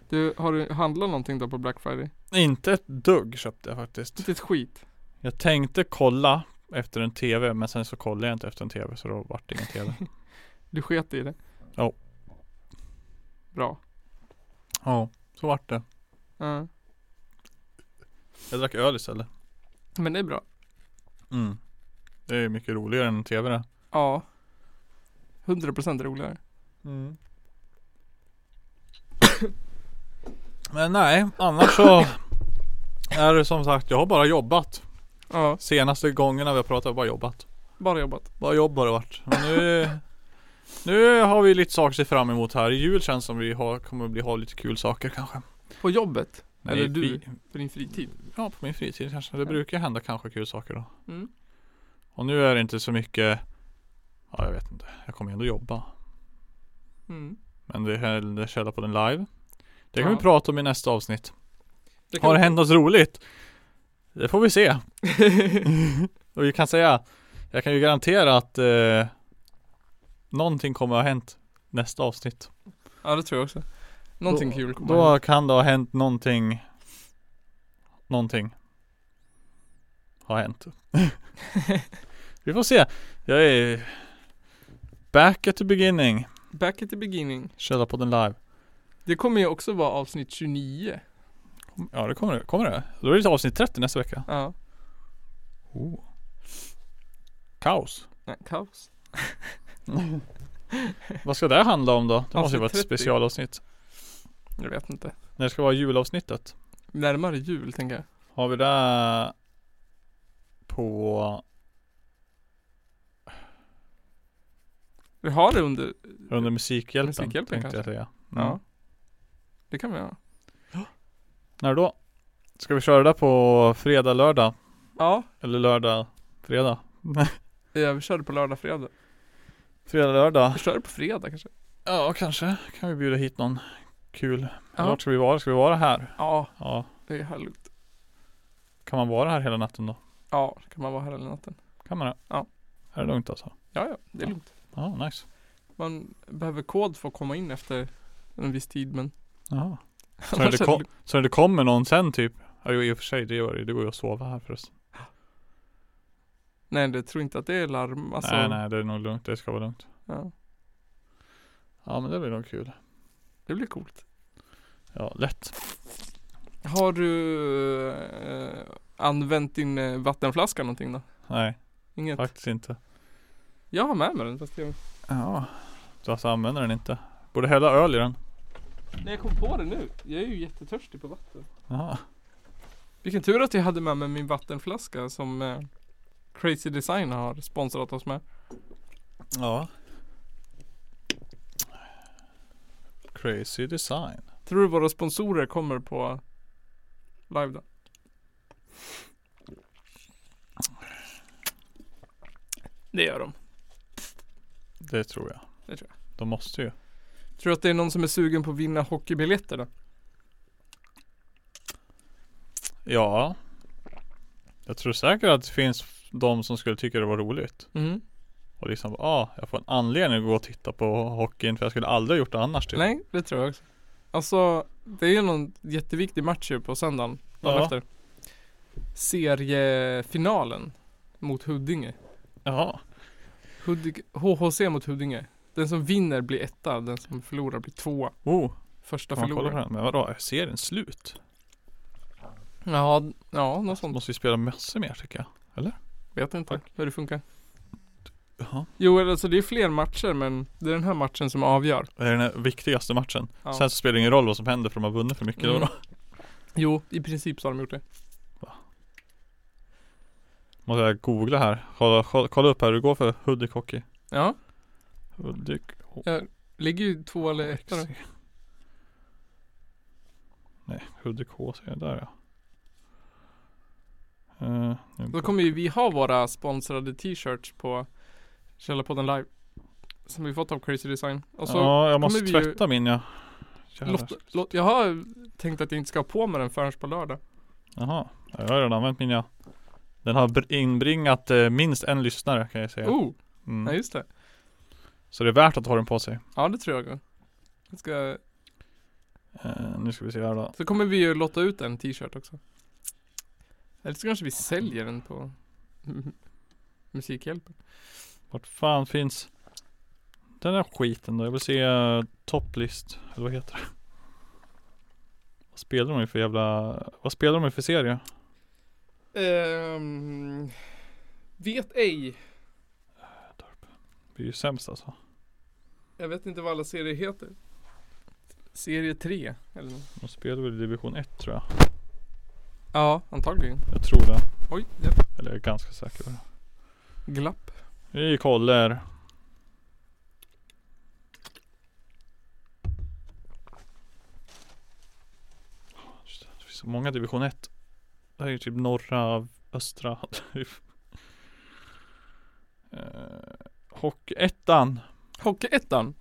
S1: Du, har du handlat någonting då på Black Friday?
S2: Inte ett dugg köpte jag faktiskt.
S1: Inte ett skit.
S2: Jag tänkte kolla efter en TV men sen så kollade jag inte efter en TV så då vart det ingen TV.
S1: Du sket i det?
S2: Ja.
S1: Bra.
S2: Ja, så vart det.
S1: Ja.
S2: Jag drack öl istället.
S1: Men det är bra.
S2: Mm. Det är mycket roligare än en TV det.
S1: Ja. 100% roligare.
S2: Mm. Men nej, annars så är det som sagt, jag har bara jobbat.
S1: Ja,
S2: Senaste gångerna vi har pratat har jag bara jobbat.
S1: bara jobbat.
S2: Bara jobb har det varit. Men nu, nu har vi lite saker att se fram emot här. I jul känns som vi har, kommer att bli, ha lite kul saker kanske.
S1: På jobbet? Eller
S2: Nej,
S1: du?
S2: vi-
S1: För din fritid?
S2: Ja, på min fritid kanske. Det brukar hända kanske kul saker då.
S1: Mm.
S2: Och nu är det inte så mycket, ja jag vet inte. Jag kommer ändå jobba.
S1: Mm.
S2: Men det händer källa på den live. Det kan
S1: Ja.
S2: vi prata om i nästa avsnitt. Har det hänt något roligt? Det får vi se. Och vi kan säga, jag kan ju garantera att eh, någonting kommer att ha hänt nästa avsnitt.
S1: Ja, det tror jag också. Någonting
S2: då,
S1: kul
S2: Då kan det ha hänt någonting. Någonting. Har hänt. vi får se. Jag är back at the beginning.
S1: Back at the beginning.
S2: Källa på den live.
S1: Det kommer ju också vara avsnitt 29.
S2: Ja det kommer det. Kommer det? Då är det avsnitt 30 nästa vecka.
S1: Ja.
S2: Oh. Kaos.
S1: Nej, kaos.
S2: Vad ska det handla om då? Det måste ju vara ett
S1: Avsnitt 30.
S2: specialavsnitt.
S1: Jag vet inte.
S2: När ska vara julavsnittet?
S1: Närmare jul tänker jag.
S2: Har vi det på
S1: Vi har det under,
S2: under musikhjälpen?
S1: Musikhjälpen
S2: tänkte
S1: kanske.
S2: jag säga. Mm.
S1: ja. Det kan vi göra.
S2: När då? Ska vi köra det på fredag, lördag?
S1: Ja,
S2: Eller lördag, fredag?
S1: eh, vi kör det på lördag, fredag.
S2: Fredag, lördag?
S1: Vi kör det på fredag kanske.
S2: Ja, kanske kan vi bjuda hit någon kul.
S1: Ja.
S2: Vart ska vi vara? Ska vi vara här?
S1: Ja,
S2: Ja.
S1: det är härligt.
S2: Kan man vara här hela natten då?
S1: Ja, då kan man vara här hela natten.
S2: Kan man det?
S1: Ja.
S2: Är det lugnt alltså?
S1: Ja, ja, det är
S2: Ja.
S1: lugnt.
S2: Ja, nice.
S1: Man behöver kod för att komma in efter en viss tid men Alltså,
S2: Jaha. Så när,
S1: annars
S2: det
S1: är
S2: kom,
S1: lugnt.
S2: så när det kommer någon sen typ? Ja, jo, i och för sig, det gör det. Det går ju att sova här förresten.
S1: Nej, det tror inte att det är larm. Alltså,
S2: Nej nej det är nog lugnt, det ska vara lugnt
S1: Ja,
S2: Ja men det blir nog kul
S1: det blir coolt.
S2: Ja lätt
S1: Har du eh, använt din eh, vattenflaska någonting då?
S2: Nej
S1: Inget?
S2: faktiskt inte
S1: Jag har med mig den fast jag...
S2: Ja Så alltså använder den inte Borde hälla öl i den
S1: Nej, jag kom på det nu. Jag är ju jättetörstig på vatten.
S2: Jaha
S1: Vilken tur att jag hade med mig min vattenflaska som eh, Crazy Design har sponsrat oss med.
S2: Ja. Crazy design.
S1: Tror du våra sponsorer kommer på live då? Det gör de.
S2: Det tror jag.
S1: Det tror
S2: jag. De måste ju.
S1: Tror du att det är någon som är sugen på att vinna hockeybiljetter då?
S2: Ja. Jag tror säkert att det finns de som skulle tycka det var roligt.
S1: Mm.
S2: Och liksom, ja, ah, jag får en anledning att gå och titta på hockeyn för jag skulle aldrig ha gjort det annars typ.
S1: Nej, det tror jag också. Alltså, det är ju någon jätteviktig match ju på söndagen. Dagen
S2: Ja.
S1: efter. Seriefinalen mot Huddinge.
S2: Jaha.
S1: Huddinge. HHC mot Huddinge. Den som vinner blir etta, den som förlorar blir tvåa.
S2: Oh,
S1: Första
S2: kan man kolla på
S1: förloraren.
S2: den? Men vadå, är serien slut?
S1: Ja, ja, något sånt.
S2: Måste vi spela massor mer tycker jag.
S1: Vet inte hur det funkar.
S2: Jaha.
S1: Jo, alltså det är fler matcher men det är den här matchen som avgör.
S2: Det är den viktigaste matchen.
S1: Ja.
S2: Sen så spelar det ingen roll vad som händer för de har vunnit för mycket
S1: Mm.
S2: då.
S1: Jo, i princip så har de gjort det.
S2: Måste jag googla här. Kolla, kolla, kolla upp här hur det går för Hudik Hockey.
S1: Ja,
S2: Hudik
S1: ligger ju två eller etta då.
S2: HC. Nej, Hudik HC. Där ja. Eh, nu
S1: Då kommer ju vi ha våra sponsrade t-shirts på Källarpodden live. Som vi fått av Crazy Design. Och så
S2: ja, jag måste
S1: alltså, kommer vi ju-
S2: tvätta min ja. Jävlar.
S1: Lotta, Lotta, jag har tänkt att jag inte ska ha på mig den förrän på lördag.
S2: Jaha, jag har redan använt min ja. Den har br- inbringat eh, minst en lyssnare kan jag säga.
S1: Oh, ja
S2: Mm.
S1: just det.
S2: Så det är värt att ha den på sig.
S1: Ja det tror jag. jag ska,
S2: Eh, nu ska vi se här då.
S1: så kommer vi ju lotta ut en t-shirt också. Eller så kanske vi säljer den på Musikhjälpen.
S2: Vart fan finns den här skiten då? Jag vill se eh, topplist, eller vad heter det? Vad spelar de i för jävla, vad spelar de i för serie?
S1: Ehm, vet ej.
S2: Vi är ju sämst alltså.
S1: Jag vet inte vad alla serier heter. Serie 3 eller något.
S2: De spelar väl i division 1 tror jag.
S1: Ja, antagligen.
S2: Jag tror det.
S1: Oj, ja.
S2: Eller jag är ganska säker på det.
S1: glapp.
S2: Vi kollar. Just det, det finns så många division 1. Det här är ju typ norra, östra. Eh, Hockeyettan.se
S1: Hockeyettan.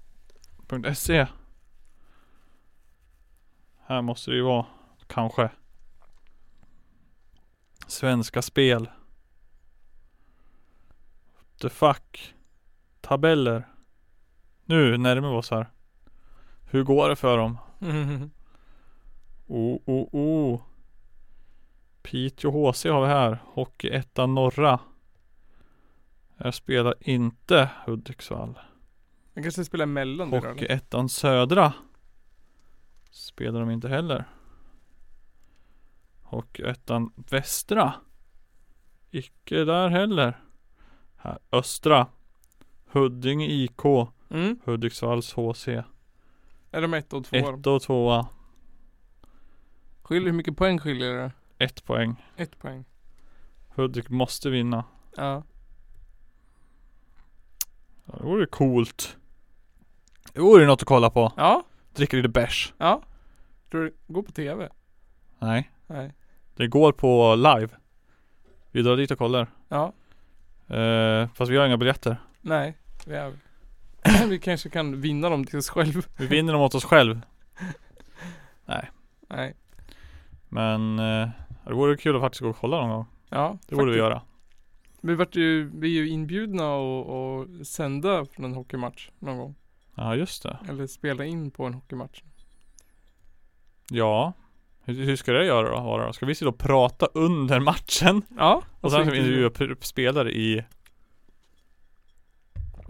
S2: E. Här måste det ju vara, kanske. Svenska spel. The fuck. Tabeller. Nu närmar vi oss här. Hur går det för dem?
S1: Mhm.
S2: Oh, oh, oh. Piteå HC har vi här. Hockeyettan norra. Här spelar inte Hudiksvall.
S1: Jag kanske spelar mellan det då, eller?
S2: Hockeyettan södra. Spelar de inte heller. Hockeyettan västra. Icke där heller. Här östra. Huddinge IK.
S1: Mm.
S2: Hudiksvalls HC.
S1: Är de ett och två?
S2: Ett och tvåa.
S1: Skiljer, hur mycket poäng skiljer det?
S2: Ett poäng.
S1: Ett poäng.
S2: Hudik måste vinna.
S1: Ja.
S2: Ja, det vore ju coolt. Det vore ju något att kolla på.
S1: Ja.
S2: Dricker lite bärs.
S1: Ja. Tror du det går på tv?
S2: Nej.
S1: Nej.
S2: Det går på live. Vi drar dit och kollar.
S1: Ja.
S2: Eh, fast vi har inga biljetter.
S1: Nej. Vi, är... vi kanske kan vinna dem till oss själv.
S2: Vi vinner dem åt oss själv.
S1: Nej.
S2: Men eh, det vore kul att faktiskt gå och kolla någon gång.
S1: Ja.
S2: Det borde vi
S1: faktiskt.
S2: göra.
S1: Vi vart ju, vi är ju inbjudna och, och sända från en hockeymatch någon gång.
S2: Ja just det.
S1: Eller spela in på en hockeymatch.
S2: Ja. Hur, hur ska det göra då? Vara då? Ska vi sitta och prata under matchen?
S1: Ja.
S2: Och sen ska vi
S1: intervju.
S2: intervjua p- spelare i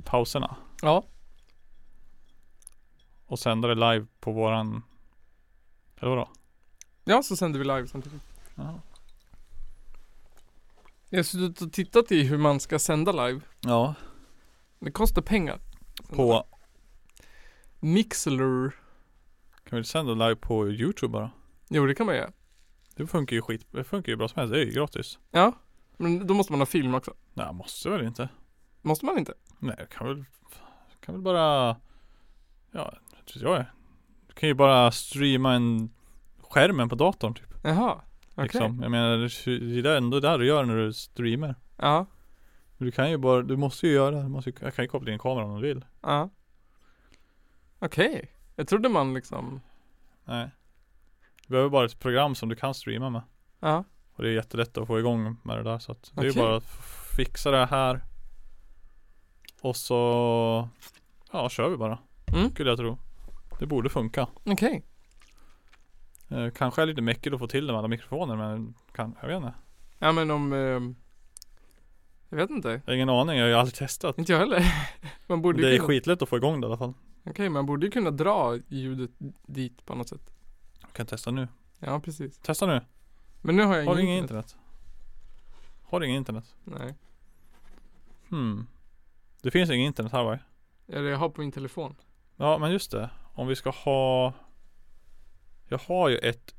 S2: pauserna.
S1: Ja.
S2: Och sända det live på våran Eller vadå?
S1: Ja, så sänder vi live samtidigt.
S2: Ja.
S1: Jag har suttit och tittat i hur man ska sända live.
S2: ja.
S1: Det kostar pengar.
S2: På
S1: Mixler.
S2: Kan vi sända live på youtube bara?
S1: Jo, det kan man göra.
S2: Det funkar ju skit, det funkar ju bra som helst, det är ju gratis.
S1: Ja. Men då måste man ha film också.
S2: Nej, måste väl inte?
S1: Måste man inte?
S2: Nej, jag kan väl, kan väl bara, ja, det tror jag. Du kan ju bara streama en skärmen på datorn typ.
S1: Jaha. Okej.
S2: Liksom. Jag menar, det är ju ändå där du gör när du streamar.
S1: Ja.
S2: Du kan ju bara, du måste ju göra, du måste, ju- jag kan ju koppla in kameran om du vill.
S1: Ja. Okej. Jag trodde man liksom.
S2: Nej. Du behöver bara ett program som du kan streama med.
S1: Ja.
S2: Och det är jättelätt att få igång med det där så att det är ju
S1: Okej.
S2: bara att f- fixa det här Och så Ja kör vi bara
S1: Mm.
S2: Skulle jag tro Det borde funka
S1: Okej.
S2: eh, Kanske är lite mäckigt att få till det med alla mikrofoner men kan, Jag vet inte
S1: Ja men om. ehm, jag vet inte.
S2: Jag har ingen aning, jag har ju aldrig testat
S1: Inte jag heller. man borde ju
S2: Det är
S1: kunna,
S2: skitlätt att få igång det i alla fall
S1: Okej, man borde ju kunna dra ljudet dit på något sätt.
S2: Jag kan testa nu
S1: Ja precis.
S2: Testa nu,
S1: Men nu har jag
S2: har du inget internet? Har du inget internet?
S1: Nej.
S2: Hmm Det finns inget internet här va?
S1: Eller jag har på min telefon.
S2: Ja men just det Om vi ska ha Jag har ju ett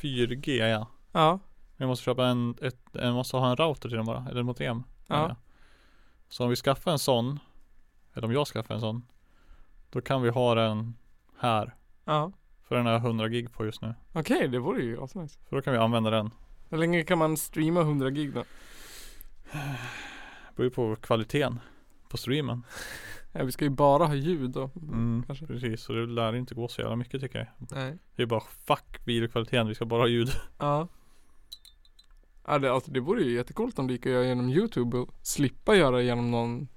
S2: 4G ja
S1: Ja.
S2: Vi måste köpa en, ett, jag måste ha en router till den bara, eller E en modem. menar
S1: Ja.
S2: jag. Så om vi skaffar en sån, eller om jag skaffar en sån, då kan vi ha den här.
S1: Ja.
S2: För den har jag 100 gig på just nu.
S1: Okej, det vore ju asnice.
S2: För då kan vi använda den.
S1: Hur länge kan man streama 100 gig då?
S2: Det beror ju på kvaliteten på streamen.
S1: Ja, vi ska ju bara ha ljud då.
S2: Mm,
S1: Kanske.
S2: precis, så det lär inte gå så jävla mycket tycker jag.
S1: Nej.
S2: Det är bara fuck videokvaliteten, vi ska bara ha ljud.
S1: Ja. Ja det, alltså, det vore ju jättecoolt om det gick att göra genom youtube och slippa göra genom någon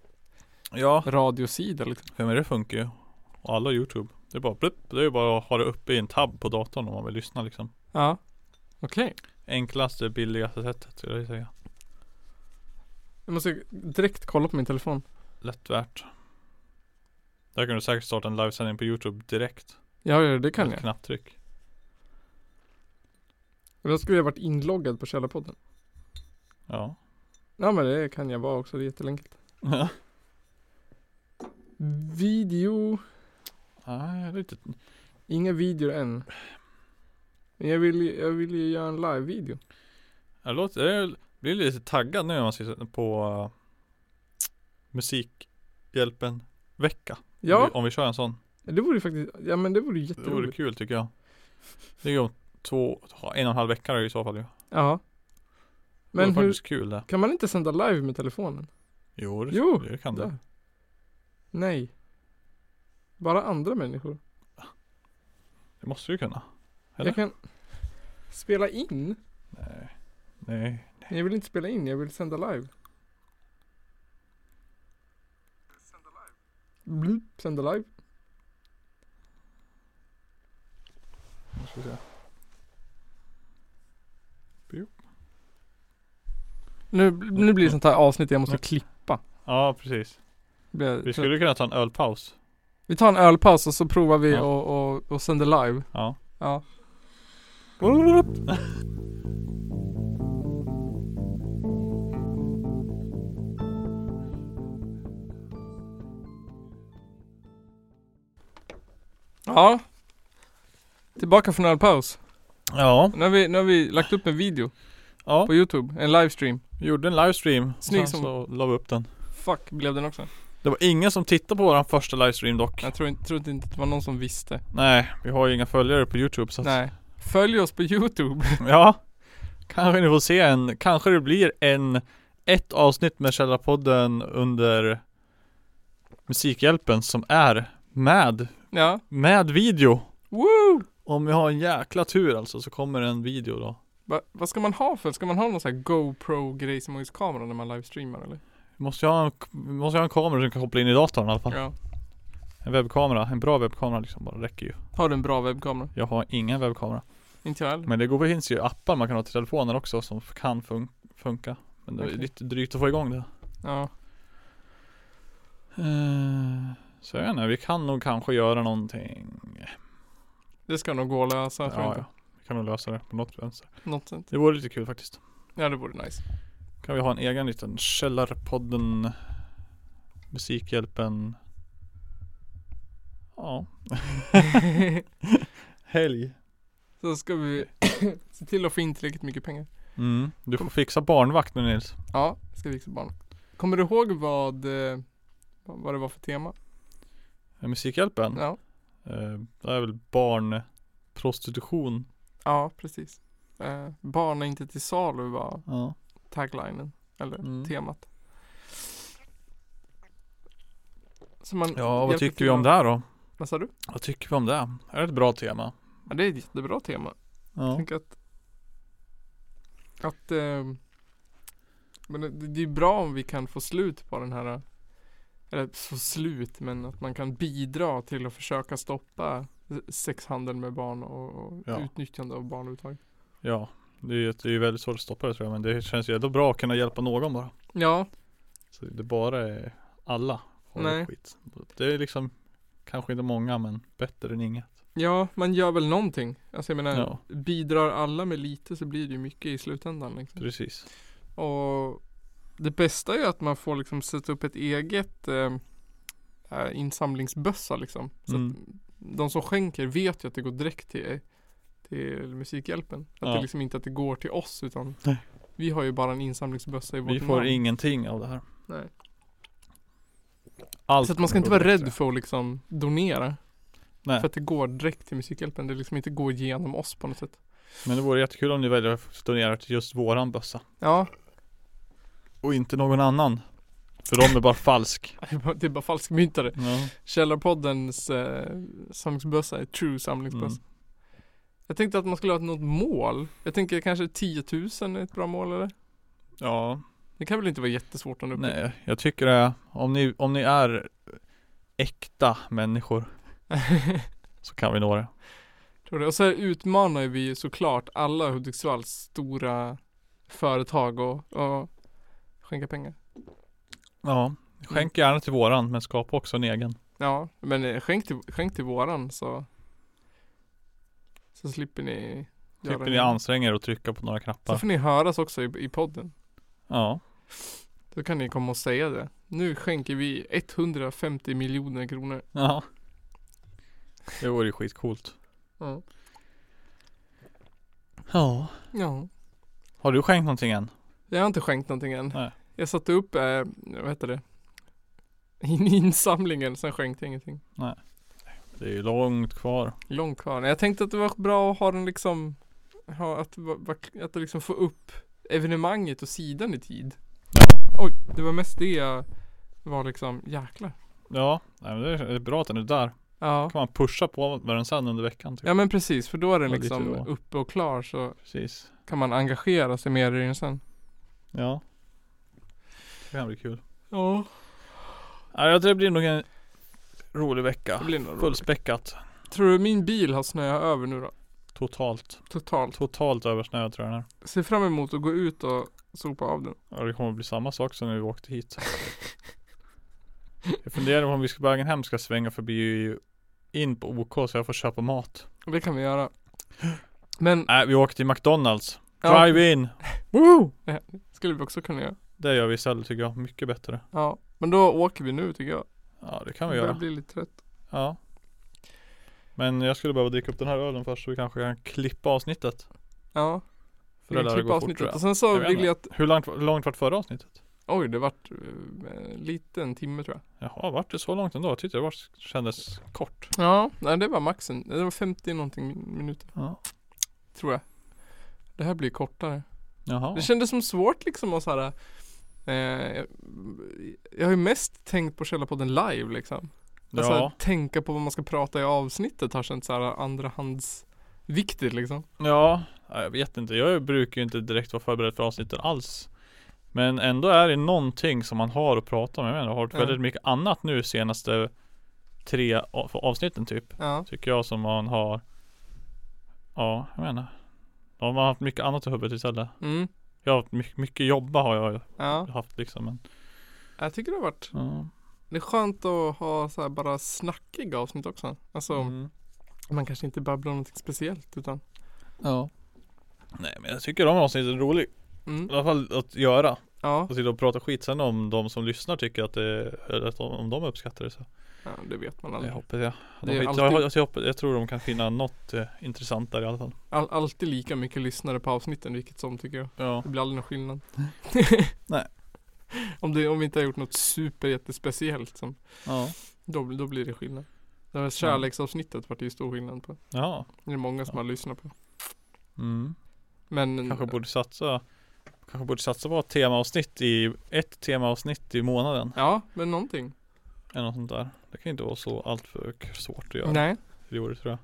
S2: Ja,
S1: radiosida liksom.
S2: för men det funkar ju. Och alla youtube. Det är bara plupp, det är ju bara att ha det uppe i en tab på datorn om man vill lyssna liksom.
S1: Ja. Okej.
S2: Enklaste, billigaste sättet skulle jag säga.
S1: Jag måste direkt kolla på min telefon.
S2: Lätt värt. Där kan du säkert starta en livesändning på Youtube direkt.
S1: Ja, ja det kan
S2: Med ett
S1: jag.
S2: Knapptryck.
S1: Och Då skulle jag varit inloggad på Källarpodden.
S2: Ja.
S1: Ja men det kan jag vara också, det är jätteenkelt. Video.
S2: Nej, lite.
S1: Inga videor än. Men jag vill, ju- jag vill ju göra en live-video.
S2: Jag, låter, jag blir lite taggad nu när man sitter på eh, Musikhjälpen vecka. Om,
S1: Ja,
S2: vi, om vi kör en sån.
S1: det vore ju faktiskt, ja men det vore ju
S2: Det vore
S1: jätteroligt.
S2: kul tycker jag. Det är ju om två, en och en halv vecka då i så fall ju.
S1: Ja.
S2: Men det
S1: Men
S2: vore
S1: hur,
S2: faktiskt kul det.
S1: kan man inte sända live med telefonen?
S2: Jo, det,
S1: Jo,
S2: det kan det.
S1: Ja. Nej. Bara andra människor.
S2: Det måste du kunna. Eller?
S1: Jag kan spela in.
S2: Nej. Nej.
S1: Men jag vill inte spela in, jag vill sända live. Bloop, sända live.
S2: Nu ska vi se.
S1: Nu, nu blir det sånt här avsnitt jag måste klippa.
S2: Ja, precis.
S1: Blir jag
S2: Vi
S1: trött.
S2: skulle kunna ta en ölpaus.
S1: Vi tar en ölpaus och så provar vi
S2: Ja.
S1: och, och, och sänder live.
S2: Ja.
S1: Ja. Ja. Tillbaka från ölpaus.
S2: Ja.
S1: Nu har vi, nu har vi lagt upp en video
S2: Ja.
S1: på youtube, en livestream.
S2: Vi gjorde en livestream. och
S1: Snygg som-
S2: sen så la vi upp den.
S1: Fuck, blev den också?
S2: Det var ingen som tittade på våran första livestream dock. Alltså.
S1: Jag tror inte, tror inte det var någon som visste.
S2: Nej, vi har ju inga följare på youtube så att,
S1: Nej. Följ oss på youtube.
S2: Ja. Kanske ni får se en, kanske det blir en, ett avsnitt med Källarpodden under Musikhjälpen som är med,
S1: Ja.
S2: med video.
S1: Woo!
S2: Om vi har en jäkla tur alltså så kommer en video då.
S1: Va, vad ska man ha för? Ska man ha någon sån här GoPro-grej som är kamera när man livestreamar eller?
S2: Vi måste ju ha en, vi måste ju ha en kamera som kan koppla in i datorn i alla fall.
S1: Ja.
S2: En webbkamera, en bra webbkamera liksom bara räcker ju.
S1: Har du en bra webbkamera?
S2: Jag har ingen webbkamera.
S1: Inte jag heller.
S2: Men det går, finns ju appar man kan ha till telefoner också som kan fun- funka. Men det är
S1: Okej.
S2: lite drygt att få igång det.
S1: Ja.
S2: Eh, Så jag vet inte, vi kan nog kanske göra någonting.
S1: Det ska nog gå att lösa tror jag
S2: ja,
S1: inte.
S2: ja. Vi kan nog lösa det på något vänster.
S1: Något sånt.
S2: Det vore lite kul faktiskt.
S1: Ja det vore nice.
S2: Kan vi ha en egen liten Källarpodden Musikhjälpen Ja Helg
S1: Så ska vi se till att få in tillräckligt mycket pengar.
S2: Mm. Du får fixa barnvakt nu Nils.
S1: Ja, ska vi fixa barn. Kommer du ihåg vad, eh, vad det var för tema?
S2: Eh, Musikhjälpen.
S1: Ja,
S2: Eh, det är väl barnprostitution.
S1: ja precis. Eh, barn är inte till salu var
S2: Ja.
S1: taglinen, eller
S2: Mm.
S1: temat. Så man
S2: Ja, vad
S1: hjälper
S2: tycker
S1: till
S2: vi om
S1: att-
S2: det här då?
S1: Vad sa du?
S2: Vad tycker vi om det? Är det ett bra tema?
S1: Ja, det är ett jättebra tema. Jag
S2: Ja.
S1: tänker att Att eh, Men det, det är bra om vi kan få slut på den här Eller få slut men att man kan bidra till att försöka stoppa sexhandel med barn och, och
S2: Ja.
S1: utnyttjande av barn överhuvudtaget.
S2: Ja. Det är ju det är ju väldigt svårt att stoppa det tror jag. Men det känns ju ändå bra att kunna hjälpa någon bara.
S1: Ja,
S2: Så det bara är alla. får
S1: Nej.
S2: Skit. Det är liksom kanske inte många men bättre än inget.
S1: ja man gör väl någonting. Alltså jag menar
S2: Ja,
S1: bidrar alla med lite så blir det ju mycket i slutändan liksom.
S2: precis.
S1: Och det bästa är ju att man får liksom sätta upp ett eget eh, eh, insamlingsbössa liksom. Så
S2: Mm.
S1: att de som skänker vet ju att det går direkt till, till Musikhjälpen. Att
S2: Ja.
S1: det liksom inte att det går till oss utan
S2: Nej.
S1: vi har ju bara en insamlingsbössa i vårt
S2: Vi får
S1: namn.
S2: ingenting av det här.
S1: Nej.
S2: Allt
S1: Så att man ska inte
S2: går
S1: vara rädd
S2: bättre.
S1: för att liksom donera.
S2: Nej.
S1: För att det går direkt till Musikhjälpen. Det liksom inte går genom oss på något sätt.
S2: Men det vore jättekul om ni väljer att donera till just våran bössa.
S1: Ja,
S2: Och inte någon annan. För de är bara falsk.
S1: det är bara- det är bara falskmyntare.
S2: Ja.
S1: Källarpoddens eh, samlingsbössa är true samlingsbössa.
S2: Mm.
S1: Jag tänkte att man skulle ha något mål. Jag tänker kanske 10 000 är ett bra mål eller?
S2: ja.
S1: Det kan väl inte vara jättesvårt om du
S2: Nej, jag tycker det är, om ni, om ni är äkta människor så kan vi nå det.
S1: tror det. Och så här utmanar vi ju såklart alla Hudiksvalls stora företag och, och skänka pengar.
S2: Ja, skänk gärna till våran men skapa också en egen.
S1: Ja, men eh, skänk till, skänk till våran så så slipper ni göra
S2: Slipper
S1: det.
S2: Typ ni anstränga er och trycka på några
S1: Så
S2: knappar.
S1: får ni höras också i, i podden.
S2: Ja,
S1: Då kan ni komma och säga det. Nu skänker vi 150 miljoner kronor.
S2: ja. Det vore ju skitcoolt.
S1: Ja.
S2: Ja.
S1: ja.
S2: Har du skänkt någonting än?
S1: Jag har inte skänkt någonting än.
S2: Nej.
S1: Jag satte upp, eh, vad heter det? In insamlingen, sen skänkte jag ingenting.
S2: Det är ju långt kvar.
S1: Långt kvar. Jag tänkte att det var bra att ha den liksom, ha, att, va- va- att liksom få upp evenemanget och sidan i tid.
S2: Ja.
S1: Oj, det var mest det jag var liksom, jäklar.
S2: Ja, nej, men det är det är bra att den är där.
S1: Ja.
S2: Då kan man pusha på med den sen under veckan. Typ.
S1: Ja men precis, för då är den
S2: Ja, lite
S1: liksom
S2: då.
S1: uppe och klar så
S2: Precis.
S1: kan man engagera sig mer i den sen.
S2: Ja. Det kan bli kul.
S1: Ja.
S2: Nej, jag tror det blir nog en rolig vecka.
S1: Det blir nog roligt.
S2: Fullspäckat.
S1: Tror du min bil har snöat över nu då?
S2: Totalt.
S1: Totalt.
S2: Totalt översnöad tror jag den är.
S1: Ser fram emot att gå ut och sopa av den.
S2: Ja, det kommer bli samma sak som när vi åkte hit. jag funderar på om vi ska på vägen hem ska svänga förbi in på OK så jag får köpa mat.
S1: Det kan vi göra. Men
S2: Nej, vi åker till McDonalds.
S1: Ja.
S2: Äh, Drive in! Woo!
S1: skulle vi också kunna göra.
S2: Det gör vi istället tycker jag. Mycket bättre.
S1: Ja. Men då åker vi nu tycker jag.
S2: Ja, det kan vi
S1: Jag
S2: göra.
S1: blir lite trött.
S2: Ja. Men jag skulle behöva dricka upp den här ölen först så vi kanske kan klippa avsnittet.
S1: Ja. Vi
S2: För
S1: kan
S2: det lär
S1: klippa
S2: gå fort
S1: avsnittet.
S2: tror jag.
S1: Och sen så
S2: Jag vet
S1: vill jag att,
S2: Hur långt, långt vart förra avsnittet?
S1: oj det vart eh, lite en timme tror jag.
S2: Jaha, vart det så långt ändå? Jag tyckte det var, kändes kort.
S1: Ja. Nej det var maxen. Det var 50 någonting min- minuter
S2: Ja.
S1: tror jag. Det här blir kortare.
S2: Jaha.
S1: Det kändes som svårt liksom att såhär eh, Jag har ju mest tänkt på Källarpodden live liksom. Alltså
S2: ja.
S1: att tänka på vad man ska prata i avsnittet har känts såhär andrahandsviktigt liksom.
S2: ja, Ja, jag vet inte. Jag brukar ju inte direkt vara förberedd för avsnitten alls. Men ändå är det någonting som man har att prata om. Jag menar, jag har varit
S1: Ja.
S2: väldigt mycket annat nu senaste tre av- avsnitten typ.
S1: Ja.
S2: Tycker jag som man har Ja, jag menar Ja, man har haft mycket annat i huvudet istället
S1: Mm.
S2: Jag har haft mycket, mycket jobba har jag
S1: Ja,
S2: haft liksom men
S1: jag tycker det har varit
S2: ja.
S1: Det är skönt att ha så här bara snackiga avsnitt också. Alltså
S2: Mm.
S1: man kanske inte babblar om någonting speciellt utan
S2: ja Nej men jag tycker de avsnitten är roliga
S1: mm.
S2: I alla fall att göra
S1: Ja,
S2: Och sitta och prata skit sen om de som lyssnar tycker att det eller att de- om de uppskattar det så
S1: Ja, det vet man
S2: Det
S1: aldrig.
S2: hoppas jag.
S1: Det
S2: De
S1: är
S2: hit,
S1: alltid-
S2: jag, jag, hoppas, jag tror de kan finna något eh, intressant där i alla fall.
S1: All, alltid lika mycket lyssnare på avsnitten vilket som tycker jag.
S2: Ja.
S1: Det blir aldrig någon skillnad.
S2: Nej.
S1: Om, det, om vi inte har gjort något super jättespeciellt som,
S2: Ja.
S1: då, då blir det skillnad. Det här kärleksavsnittet vart det ju stor skillnad på.
S2: Jaha.
S1: Det är många som
S2: Ja.
S1: har lyssnat på.
S2: Mm.
S1: Men
S2: Kanske borde satsa Kanske borde satsa på ett temaavsnitt i Ett temaavsnitt i månaden
S1: Ja, men någonting.
S2: Eller något sånt där Det kan ju inte vara så alltför k- svårt att göra
S1: Nej.
S2: i år tror jag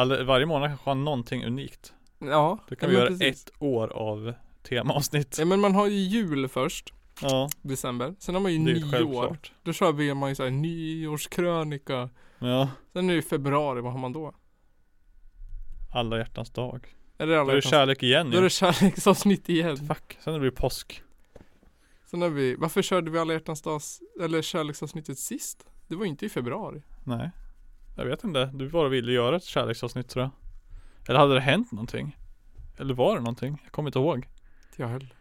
S2: All, Varje månad kanske har någonting unikt
S1: Ja.
S2: Då
S1: ja,
S2: kan vi
S1: men
S2: göra
S1: precis.
S2: ett år av temaavsnitt
S1: Ja men man har ju jul först.
S2: Ja,
S1: December. Sen har man ju
S2: det är ju
S1: nyår.
S2: självklart
S1: Då kör vi man ju såhär nyårskrönika.
S2: Ja,
S1: Sen är det februari, vad har man då?
S2: alla hjärtans dag
S1: Är det
S2: Då
S1: alla
S2: är det
S1: hjärtans-
S2: kärlek igen
S1: Då är det
S2: ju
S1: kärleksavsnitt igen.
S2: Fuck, sen det blir påsk
S1: Sen har vi, varför körde vi alla hjärtans dags, eller kärleksavsnittet sist? Det var ju inte i februari.
S2: Nej Jag vet inte, du bara ville göra ett kärleksavsnitt tror jag Eller hade det hänt någonting? Eller var det någonting? Jag kommer inte ihåg
S1: Inte Jag höll.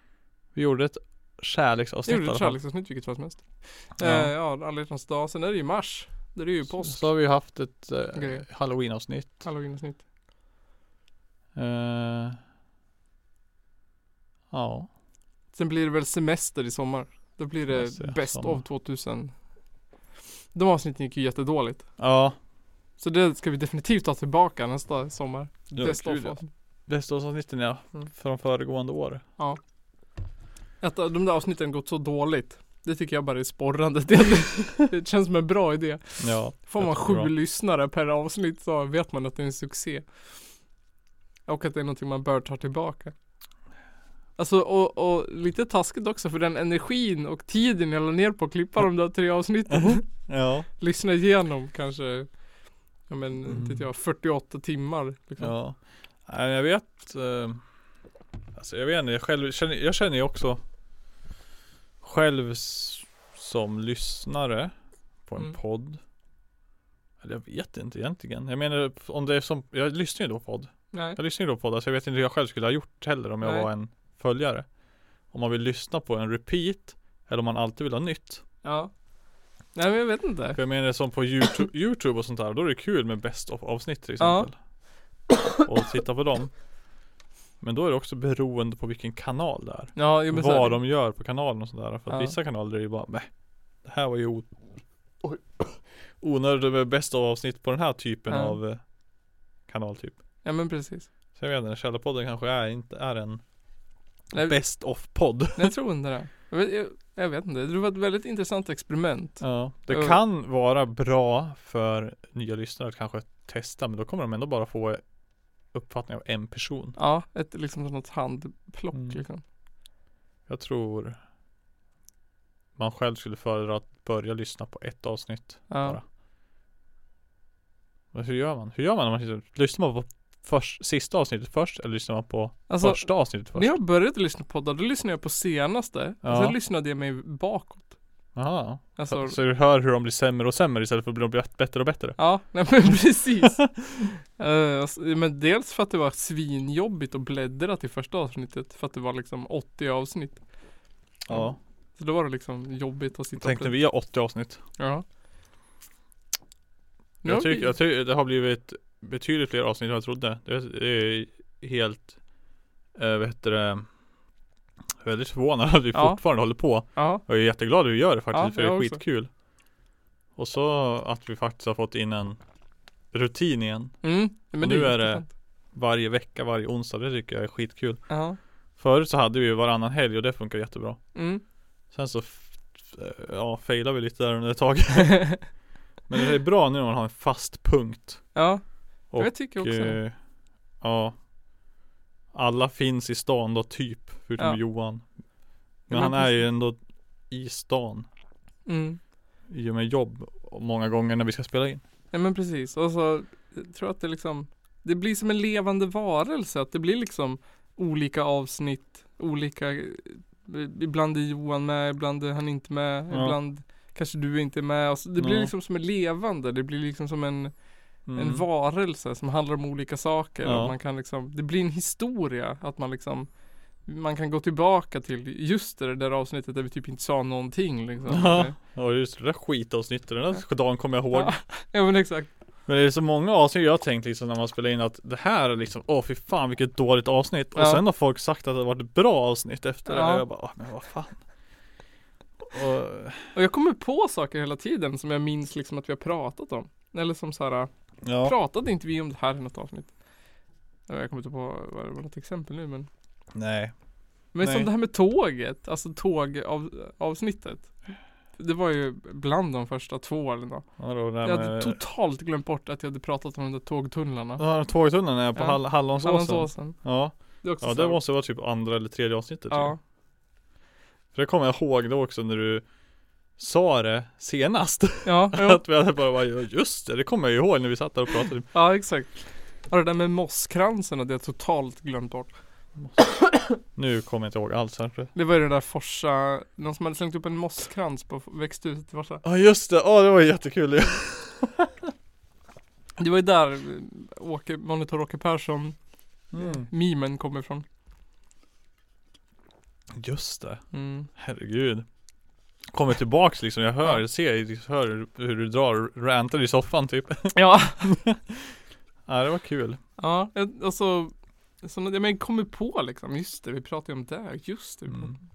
S2: Vi gjorde ett
S1: Jag
S2: kärleksavsnitt i
S1: gjorde ett
S2: alla fall.
S1: kärleksavsnitt vilket var som helst.
S2: Ja.
S1: Ja. Eh, ja, alla hjärtans dag. Sen är det ju mars. Där är det ju påsk.
S2: Så har vi ju haft ett
S1: Grej.
S2: eh, halloweenavsnitt.
S1: Halloweenavsnitt.
S2: Eh, ja,
S1: Sen blir det väl semester i sommar. Då blir
S2: Semester,
S1: det
S2: ja,
S1: Best
S2: sommar.
S1: of 2000. De avsnitten gick ju jättedåligt.
S2: ja.
S1: Så det ska vi definitivt ta tillbaka nästa sommar.
S2: Ja,
S1: Best
S2: kul,
S1: of.
S2: ja.
S1: alltså.
S2: Västeråsavsnitten ja,
S1: Mm.
S2: från föregående år.
S1: Att de där avsnitten gått så dåligt. Det tycker jag bara är sporrande. Det- Det känns som en bra idé.
S2: Ja,
S1: Får
S2: jag
S1: man
S2: tror
S1: sju
S2: det var-
S1: lyssnare per avsnitt så vet man att det är en succé. Och att det är någonting man bör ta tillbaka. Alltså och, och lite taskigt också för den energin och tiden jag la ner på att klippa de där tre avsnitten.
S2: Mhm. Ja,
S1: Lyssna igenom kanske, ja men
S2: Mm.
S1: inte vet jag, 48 timmar. Liksom.
S2: ja. Nej, jag vet. Eh, alltså jag vet inte, jag, själv, känner, jag känner ju också själv s- som lyssnare på en
S1: Mm.
S2: podd. Eller jag vet inte egentligen. Jag menar om det är som, jag lyssnar ju då på podd.
S1: Nej.
S2: Jag lyssnar ju då på det, så jag vet inte hur jag själv skulle ha gjort heller om jag
S1: Nej.
S2: var en följare. Om man vill lyssna på en repeat, eller om man alltid vill ha nytt.
S1: Ja. Nej men jag vet inte.
S2: För jag menar som på YouTube, YouTube och sånt där, då är det kul med best of avsnitt till
S1: Ja.
S2: exempel. Och titta på dem. Men då är det också beroende på vilken kanal det är.
S1: Ja, jo, men så är
S2: Vad
S1: det.
S2: de gör på kanalen och sådär. För att
S1: Ja.
S2: vissa kanaler är ju bara Mäh, Det här var ju o- Oj. onödigt med best of avsnitt på den här typen
S1: Ja.
S2: av eh, kanaltyp.
S1: Ja men precis.
S2: Så jag vet inte, Källarpodden kanske är, inte är en
S1: Nej.
S2: best of podd
S1: Nej, jag tror inte det. Jag vet, jag, jag vet inte. Det var ett väldigt intressant experiment.
S2: Ja, det
S1: Ja.
S2: kan vara bra för nya lyssnare att kanske testa men då kommer de ändå bara få uppfattning av en person.
S1: Ja, ett liksom något handplock
S2: Mm.
S1: liksom.
S2: Jag tror man själv skulle föredra att börja lyssna på ett avsnitt.
S1: Ja.
S2: Bara. Men hur gör man? Hur gör man när man sitter- lyssnar man på först, sista avsnittet först eller lyssnar man på
S1: Alltså,
S2: första avsnittet först?
S1: när jag började lyssna på poddar, då lyssnade jag på senaste.
S2: Ja.
S1: Och sen lyssnade jag mig bakåt.
S2: Aha.
S1: Alltså,
S2: Så, så du hör hur de blir sämre och sämre istället för att de blir bättre och bättre?
S1: ja, nej men precis. Eh, alltså, men dels för att det var svinjobbigt att bläddra till första avsnittet. För att det var liksom 80 avsnitt.
S2: Ja.
S1: Så då var det liksom jobbigt att sitta
S2: Tänkte
S1: och
S2: vi har 80 avsnitt.
S1: bläddra. Ja. Nu har
S2: Jag
S1: vi-
S2: tycker, jag tycker det har blivit betydligt fler avsnitt än jag trodde. Det är- det är helt, eh, vad heter det, väldigt förvånad att vi
S1: Ja.
S2: fortfarande håller på.
S1: Ja,
S2: Jag är jätteglad att vi gör det faktiskt,
S1: Ja,
S2: för det
S1: jag
S2: är
S1: också.
S2: skitkul. Och så att vi faktiskt har fått in en rutin igen.
S1: mm. men
S2: nu är det-
S1: jätteskönt.
S2: Varje vecka, varje onsdag, det tycker jag är skitkul.
S1: Ja.
S2: Förut så hade vi ju varannan helg och det funkar jättebra.
S1: Mm.
S2: Sen så, f- eh, ja, failade vi lite där under ett tag. Men det är bra nu när man har en fast punkt.
S1: ja.
S2: Och,
S1: jag tycker också det.
S2: Eh, ja. Alla finns i stan då typ, förutom
S1: Ja.
S2: Johan. Men
S1: men
S2: han är
S1: precis.
S2: ju ändå i stan
S1: Mm.
S2: i och med jobb och många gånger när vi ska spela in.
S1: Ja men precis. Och så jag tror att det liksom Det blir som en levande varelse. Att det blir liksom olika avsnitt. Olika eh, Ibland är Johan med, ibland är han inte med.
S2: Ja.
S1: Ibland kanske du inte är med. Och så, det blir
S2: Ja.
S1: liksom som en levande. Det blir liksom som en,
S2: Mm.
S1: en varelse som handlar om olika saker.
S2: Ja.
S1: Och man kan liksom, det blir en historia. Att man liksom man kan gå tillbaka till just det där avsnittet där vi typ inte sa någonting liksom.
S2: Ja. Ja just det där skitavsnittet, den där dagen kommer jag ihåg
S1: Ja. ja men exakt.
S2: Men det är så många avsnitt jag har tänkt liksom när man spelar in att det här är liksom Åh fy fan vilket dåligt avsnitt
S1: Ja.
S2: Och sen har folk sagt att det har varit ett bra avsnitt efter det
S1: Ja.
S2: och jag bara "Åh, men vad fan och,
S1: Och jag kommer på saker hela tiden som jag minns liksom att vi har pratat om. Eller som så här,
S2: Ja,
S1: pratade inte vi om det här i något avsnitt? Ja, Jag kommer inte på vad det var något exempel nu men.
S2: nej
S1: Men
S2: Nej.
S1: som det här med tåget, alltså tågavsnittet. Det var ju bland de första två åren då.
S2: Vadå det
S1: Jag
S2: här
S1: hade
S2: med
S1: totalt glömt bort att jag hade pratat om de där tågtunnlarna.
S2: Ja, tågtunneln är på
S1: Ja.
S2: Hall- Hallonsåsen.
S1: Hallandsåsen.
S2: Ja,
S1: Det är också
S2: ja
S1: så
S2: det
S1: här-
S2: måste vara typ andra eller tredje avsnittet tror jag.
S1: Ja.
S2: För det kommer jag ihåg då också när du sa det senast
S1: Ja, jo.
S2: Att vi hade bara, bara "Ja, just det, det kommer jag ju ihåg när vi satt där och pratade
S1: ja exakt. Ja, det där med mosskransen hade jag totalt glömt bort.
S2: Nu kommer jag inte ihåg alls här
S1: Det var ju det där Forsa, någon som hade slängt upp en mosskrans på växthuset i Forsa.
S2: Ja just det, ja det var jättekul
S1: Det var ju där eh, Åke, monitor Åke Persson,
S2: mm.
S1: mimen kom ifrån.
S2: Just det,
S1: Mm.
S2: herregud Kommer tillbaks liksom, jag hör, jag ser, jag hör hur du drar och rantar i soffan typ
S1: Ja.
S2: Ja det var kul
S1: Ja, jag- och så, så när- men jag kommer på liksom, just det, vi pratade ju om det, just det. vi pratade-
S2: mm.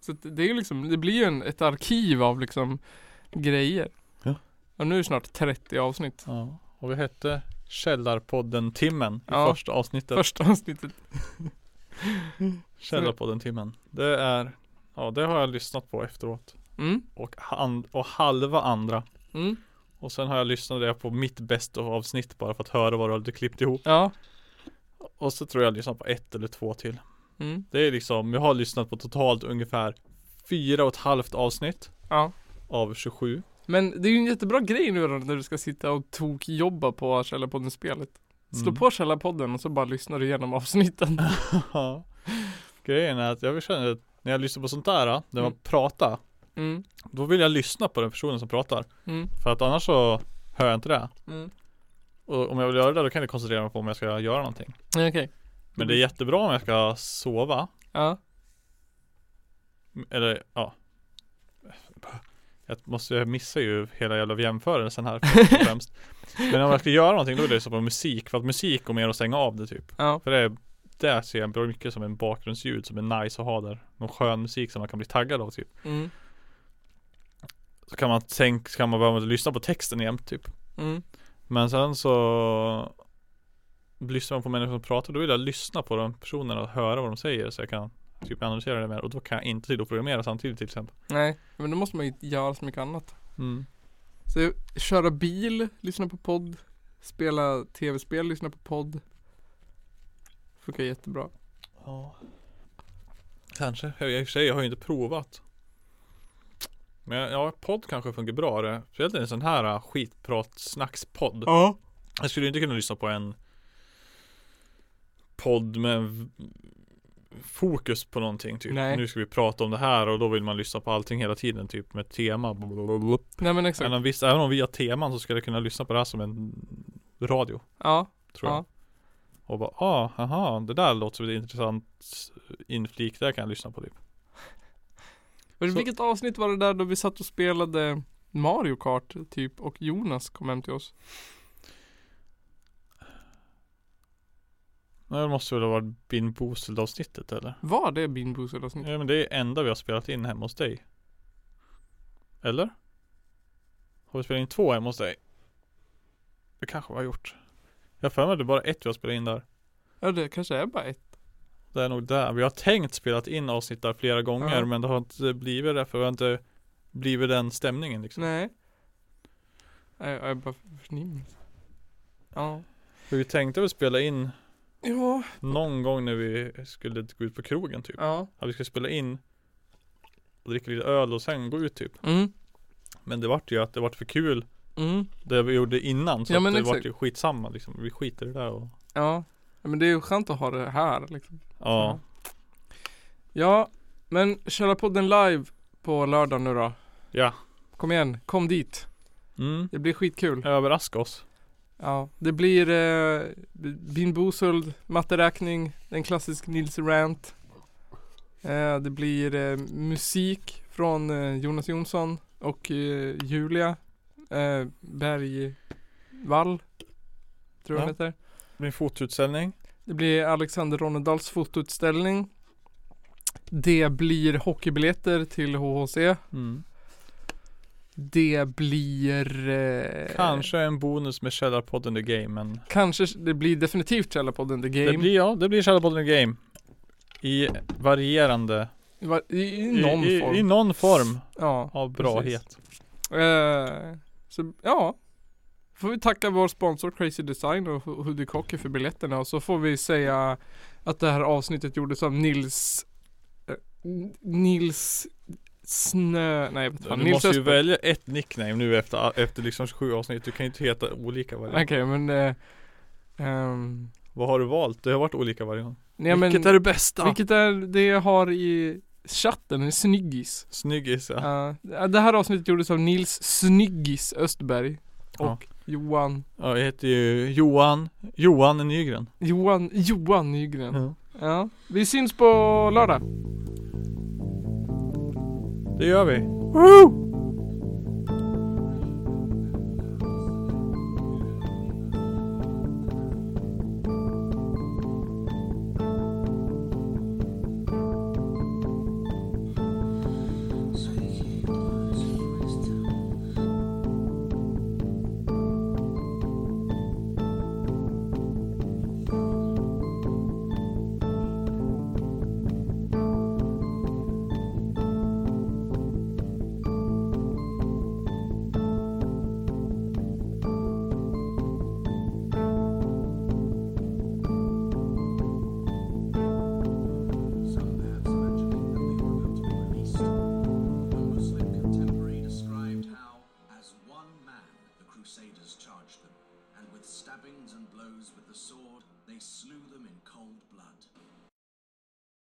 S1: Så att det är ju liksom, det blir ju en, ett arkiv av liksom grejer.
S2: Ja.
S1: Och nu är det snart 30 avsnitt.
S2: ja. Och vi hette Källarpodden Timmen i
S1: Ja.
S2: första avsnittet
S1: Första avsnittet.
S2: Källarpodden Timmen Det är, ja det har jag lyssnat på efteråt
S1: Mm,
S2: och, han, och halva andra
S1: mm,
S2: Och sen har jag lyssnat det på mitt bästa avsnitt bara för att höra vad du hade klippt ihop
S1: ja.
S2: Och så tror jag jag lyssnat på ett eller två till
S1: Mm,
S2: Det är liksom, jag har lyssnat på totalt ungefär fyra och ett halvt avsnitt
S1: ja.
S2: av 27
S1: Men det är ju en jättebra grej nu då när du ska sitta och tokjobba på Källarpodden-spelet. Slå
S2: Mm.
S1: på Källarpodden och så bara lyssnar du igenom avsnitten.
S2: Ja. Grejen är att jag känner att när jag lyssnar på sånt där, när man
S1: Mm.
S2: pratar
S1: Mm,
S2: Då vill jag lyssna på den personen som pratar
S1: mm,
S2: För att annars så hör jag inte det
S1: mm.
S2: Och om jag vill göra det då kan jag koncentrera mig på om jag ska göra någonting
S1: Okej.
S2: Men det är jättebra om jag ska sova
S1: Ja.
S2: Eller ja Jag måste, jag missar ju hela jävla jämförelsen här främst Men om jag ska göra någonting då är det så på musik För att musik går mer att stänga av det typ
S1: Ja.
S2: För det, det ser jag bra mycket som en bakgrundsljud som är nice att ha där Någon skön musik som man kan bli taggad av typ
S1: Mm,
S2: Så kan man tänka, så kan man behöva lyssna på texten jämt typ
S1: mm,
S2: Men sen så Lyssnar man på människor som pratar då vill jag lyssna på de personerna och höra vad de säger så jag kan Typ analysera det mer och då kan jag inte sitta och programmera samtidigt till exempel
S1: nej. Men då måste man ju göra så mycket annat.
S2: mm.
S1: Så köra bil, lyssna på podd, spela tv-spel, lyssna på podd. Funkar jättebra.
S2: Ja Kanske, jag, i och för sig, jag har ju inte provat Men jag- ja, podd kanske funkar bra det Speciellt en sån här äh, skitprat snackspodd
S1: Ja.
S2: Jag skulle inte kunna lyssna på en podd med v- fokus på någonting typ
S1: Nej.
S2: Nu ska vi prata om det här och då vill man lyssna på allting hela tiden typ med tema blablabla.
S1: Nej men exakt.
S2: Även om, visst, även om vi har teman så skulle jag kunna lyssna på det här som en radio
S1: Ja.
S2: Tror
S1: ja.
S2: jag Och bara ah, aha, det där låter som ett intressant eh, inflik där kan jag lyssna på typ
S1: Men
S2: Så-
S1: vilket avsnitt var det där då vi satt och spelade Mario Kart typ och Jonas kom hem till oss?
S2: Nej, Det måste väl ha varit Bin Boozled avsnittet eller?
S1: Var det Bean Boozled avsnitt?
S2: Ja men det är det enda vi har spelat in hemma hos dig Eller? Har vi spelat in två hemma hos dig? Det kanske vi har gjort Jag har för mig att det är bara ett vi har spelat in där
S1: Ja det kanske är bara ett.
S2: Det är nog där, vi har tänkt spelat in avsnitt där flera gånger
S1: Ja.
S2: men det har inte blivit det för vi har inte blivit den stämningen liksom
S1: Nej. Nej jag, jag bara förnimmer. Ja.
S2: För vi tänkte väl spela in
S1: Ja.
S2: någon gång när vi skulle gå ut på krogen typ
S1: Ja.
S2: Att vi skulle spela in och dricka lite öl och sen gå ut typ
S1: Mm.
S2: Men det vart ju att det vart för kul
S1: Mm.
S2: Det vi gjorde innan så
S1: Ja,
S2: att
S1: men
S2: det
S1: exakt.
S2: vart ju skitsamma liksom Vi skiter i det där och
S1: Ja. Ja, Men det är ju skönt att ha det här liksom.
S2: Ja,
S1: Ja, men Källarpodden live på lördag nu då.
S2: ja.
S1: Kom igen, kom dit.
S2: Mm.
S1: Det blir skitkul.
S2: Överraska oss
S1: Ja, det blir eh, Bin Bosold, matteräkning, en klassisk Nils Rant. Eh, det blir eh, musik från eh, Jonas Jonsson och eh, Julia eh, Bergvall. Tror jag hon
S2: Ja.
S1: heter.
S2: Det blir en fotoutställning.
S1: Det blir Alexander Ronedals fotoutställning. Det blir hockeybiljetter till HHC.
S2: Mm.
S1: Det blir... Eh,
S2: Kanske en bonus med Källarpodden The Game, men
S1: Kanske det blir definitivt Källarpodden The Game.
S2: Det blir, ja, det blir Källarpodden The Game. I varierande,
S1: Va- I, i
S2: i,
S1: någon
S2: i,
S1: form.
S2: i någon form
S1: ja.
S2: av brahet.
S1: Eh, så ja. Får vi tacka vår sponsor Crazy Design och Ho- Hoodie Cocky för biljetterna och så får vi säga att det här avsnittet gjordes av Nils eh, N- Nils Snö, nej vad fan,
S2: Du
S1: Nils
S2: måste ju
S1: Östberg.
S2: välja ett nickname nu efter, efter liksom 27 avsnitt. Du kan ju inte heta olika varje
S1: Okej men eh, ehm,
S2: Vad har du valt? Det har varit olika varje gång.
S1: nej, men,
S2: Vilket är det bästa?
S1: vilket är det jag har i chatten, en snyggis.
S2: Snyggis ja.
S1: Ja. det här avsnittet gjordes av Nils Snyggis Östberg och
S2: Ja.
S1: Johan
S2: ja. Jag heter ju Johan, Johan Nygren.
S1: Johan, Johan Nygren.
S2: Ja.
S1: Ja, vi syns på lördag.
S2: Det gör vi.
S1: Woo!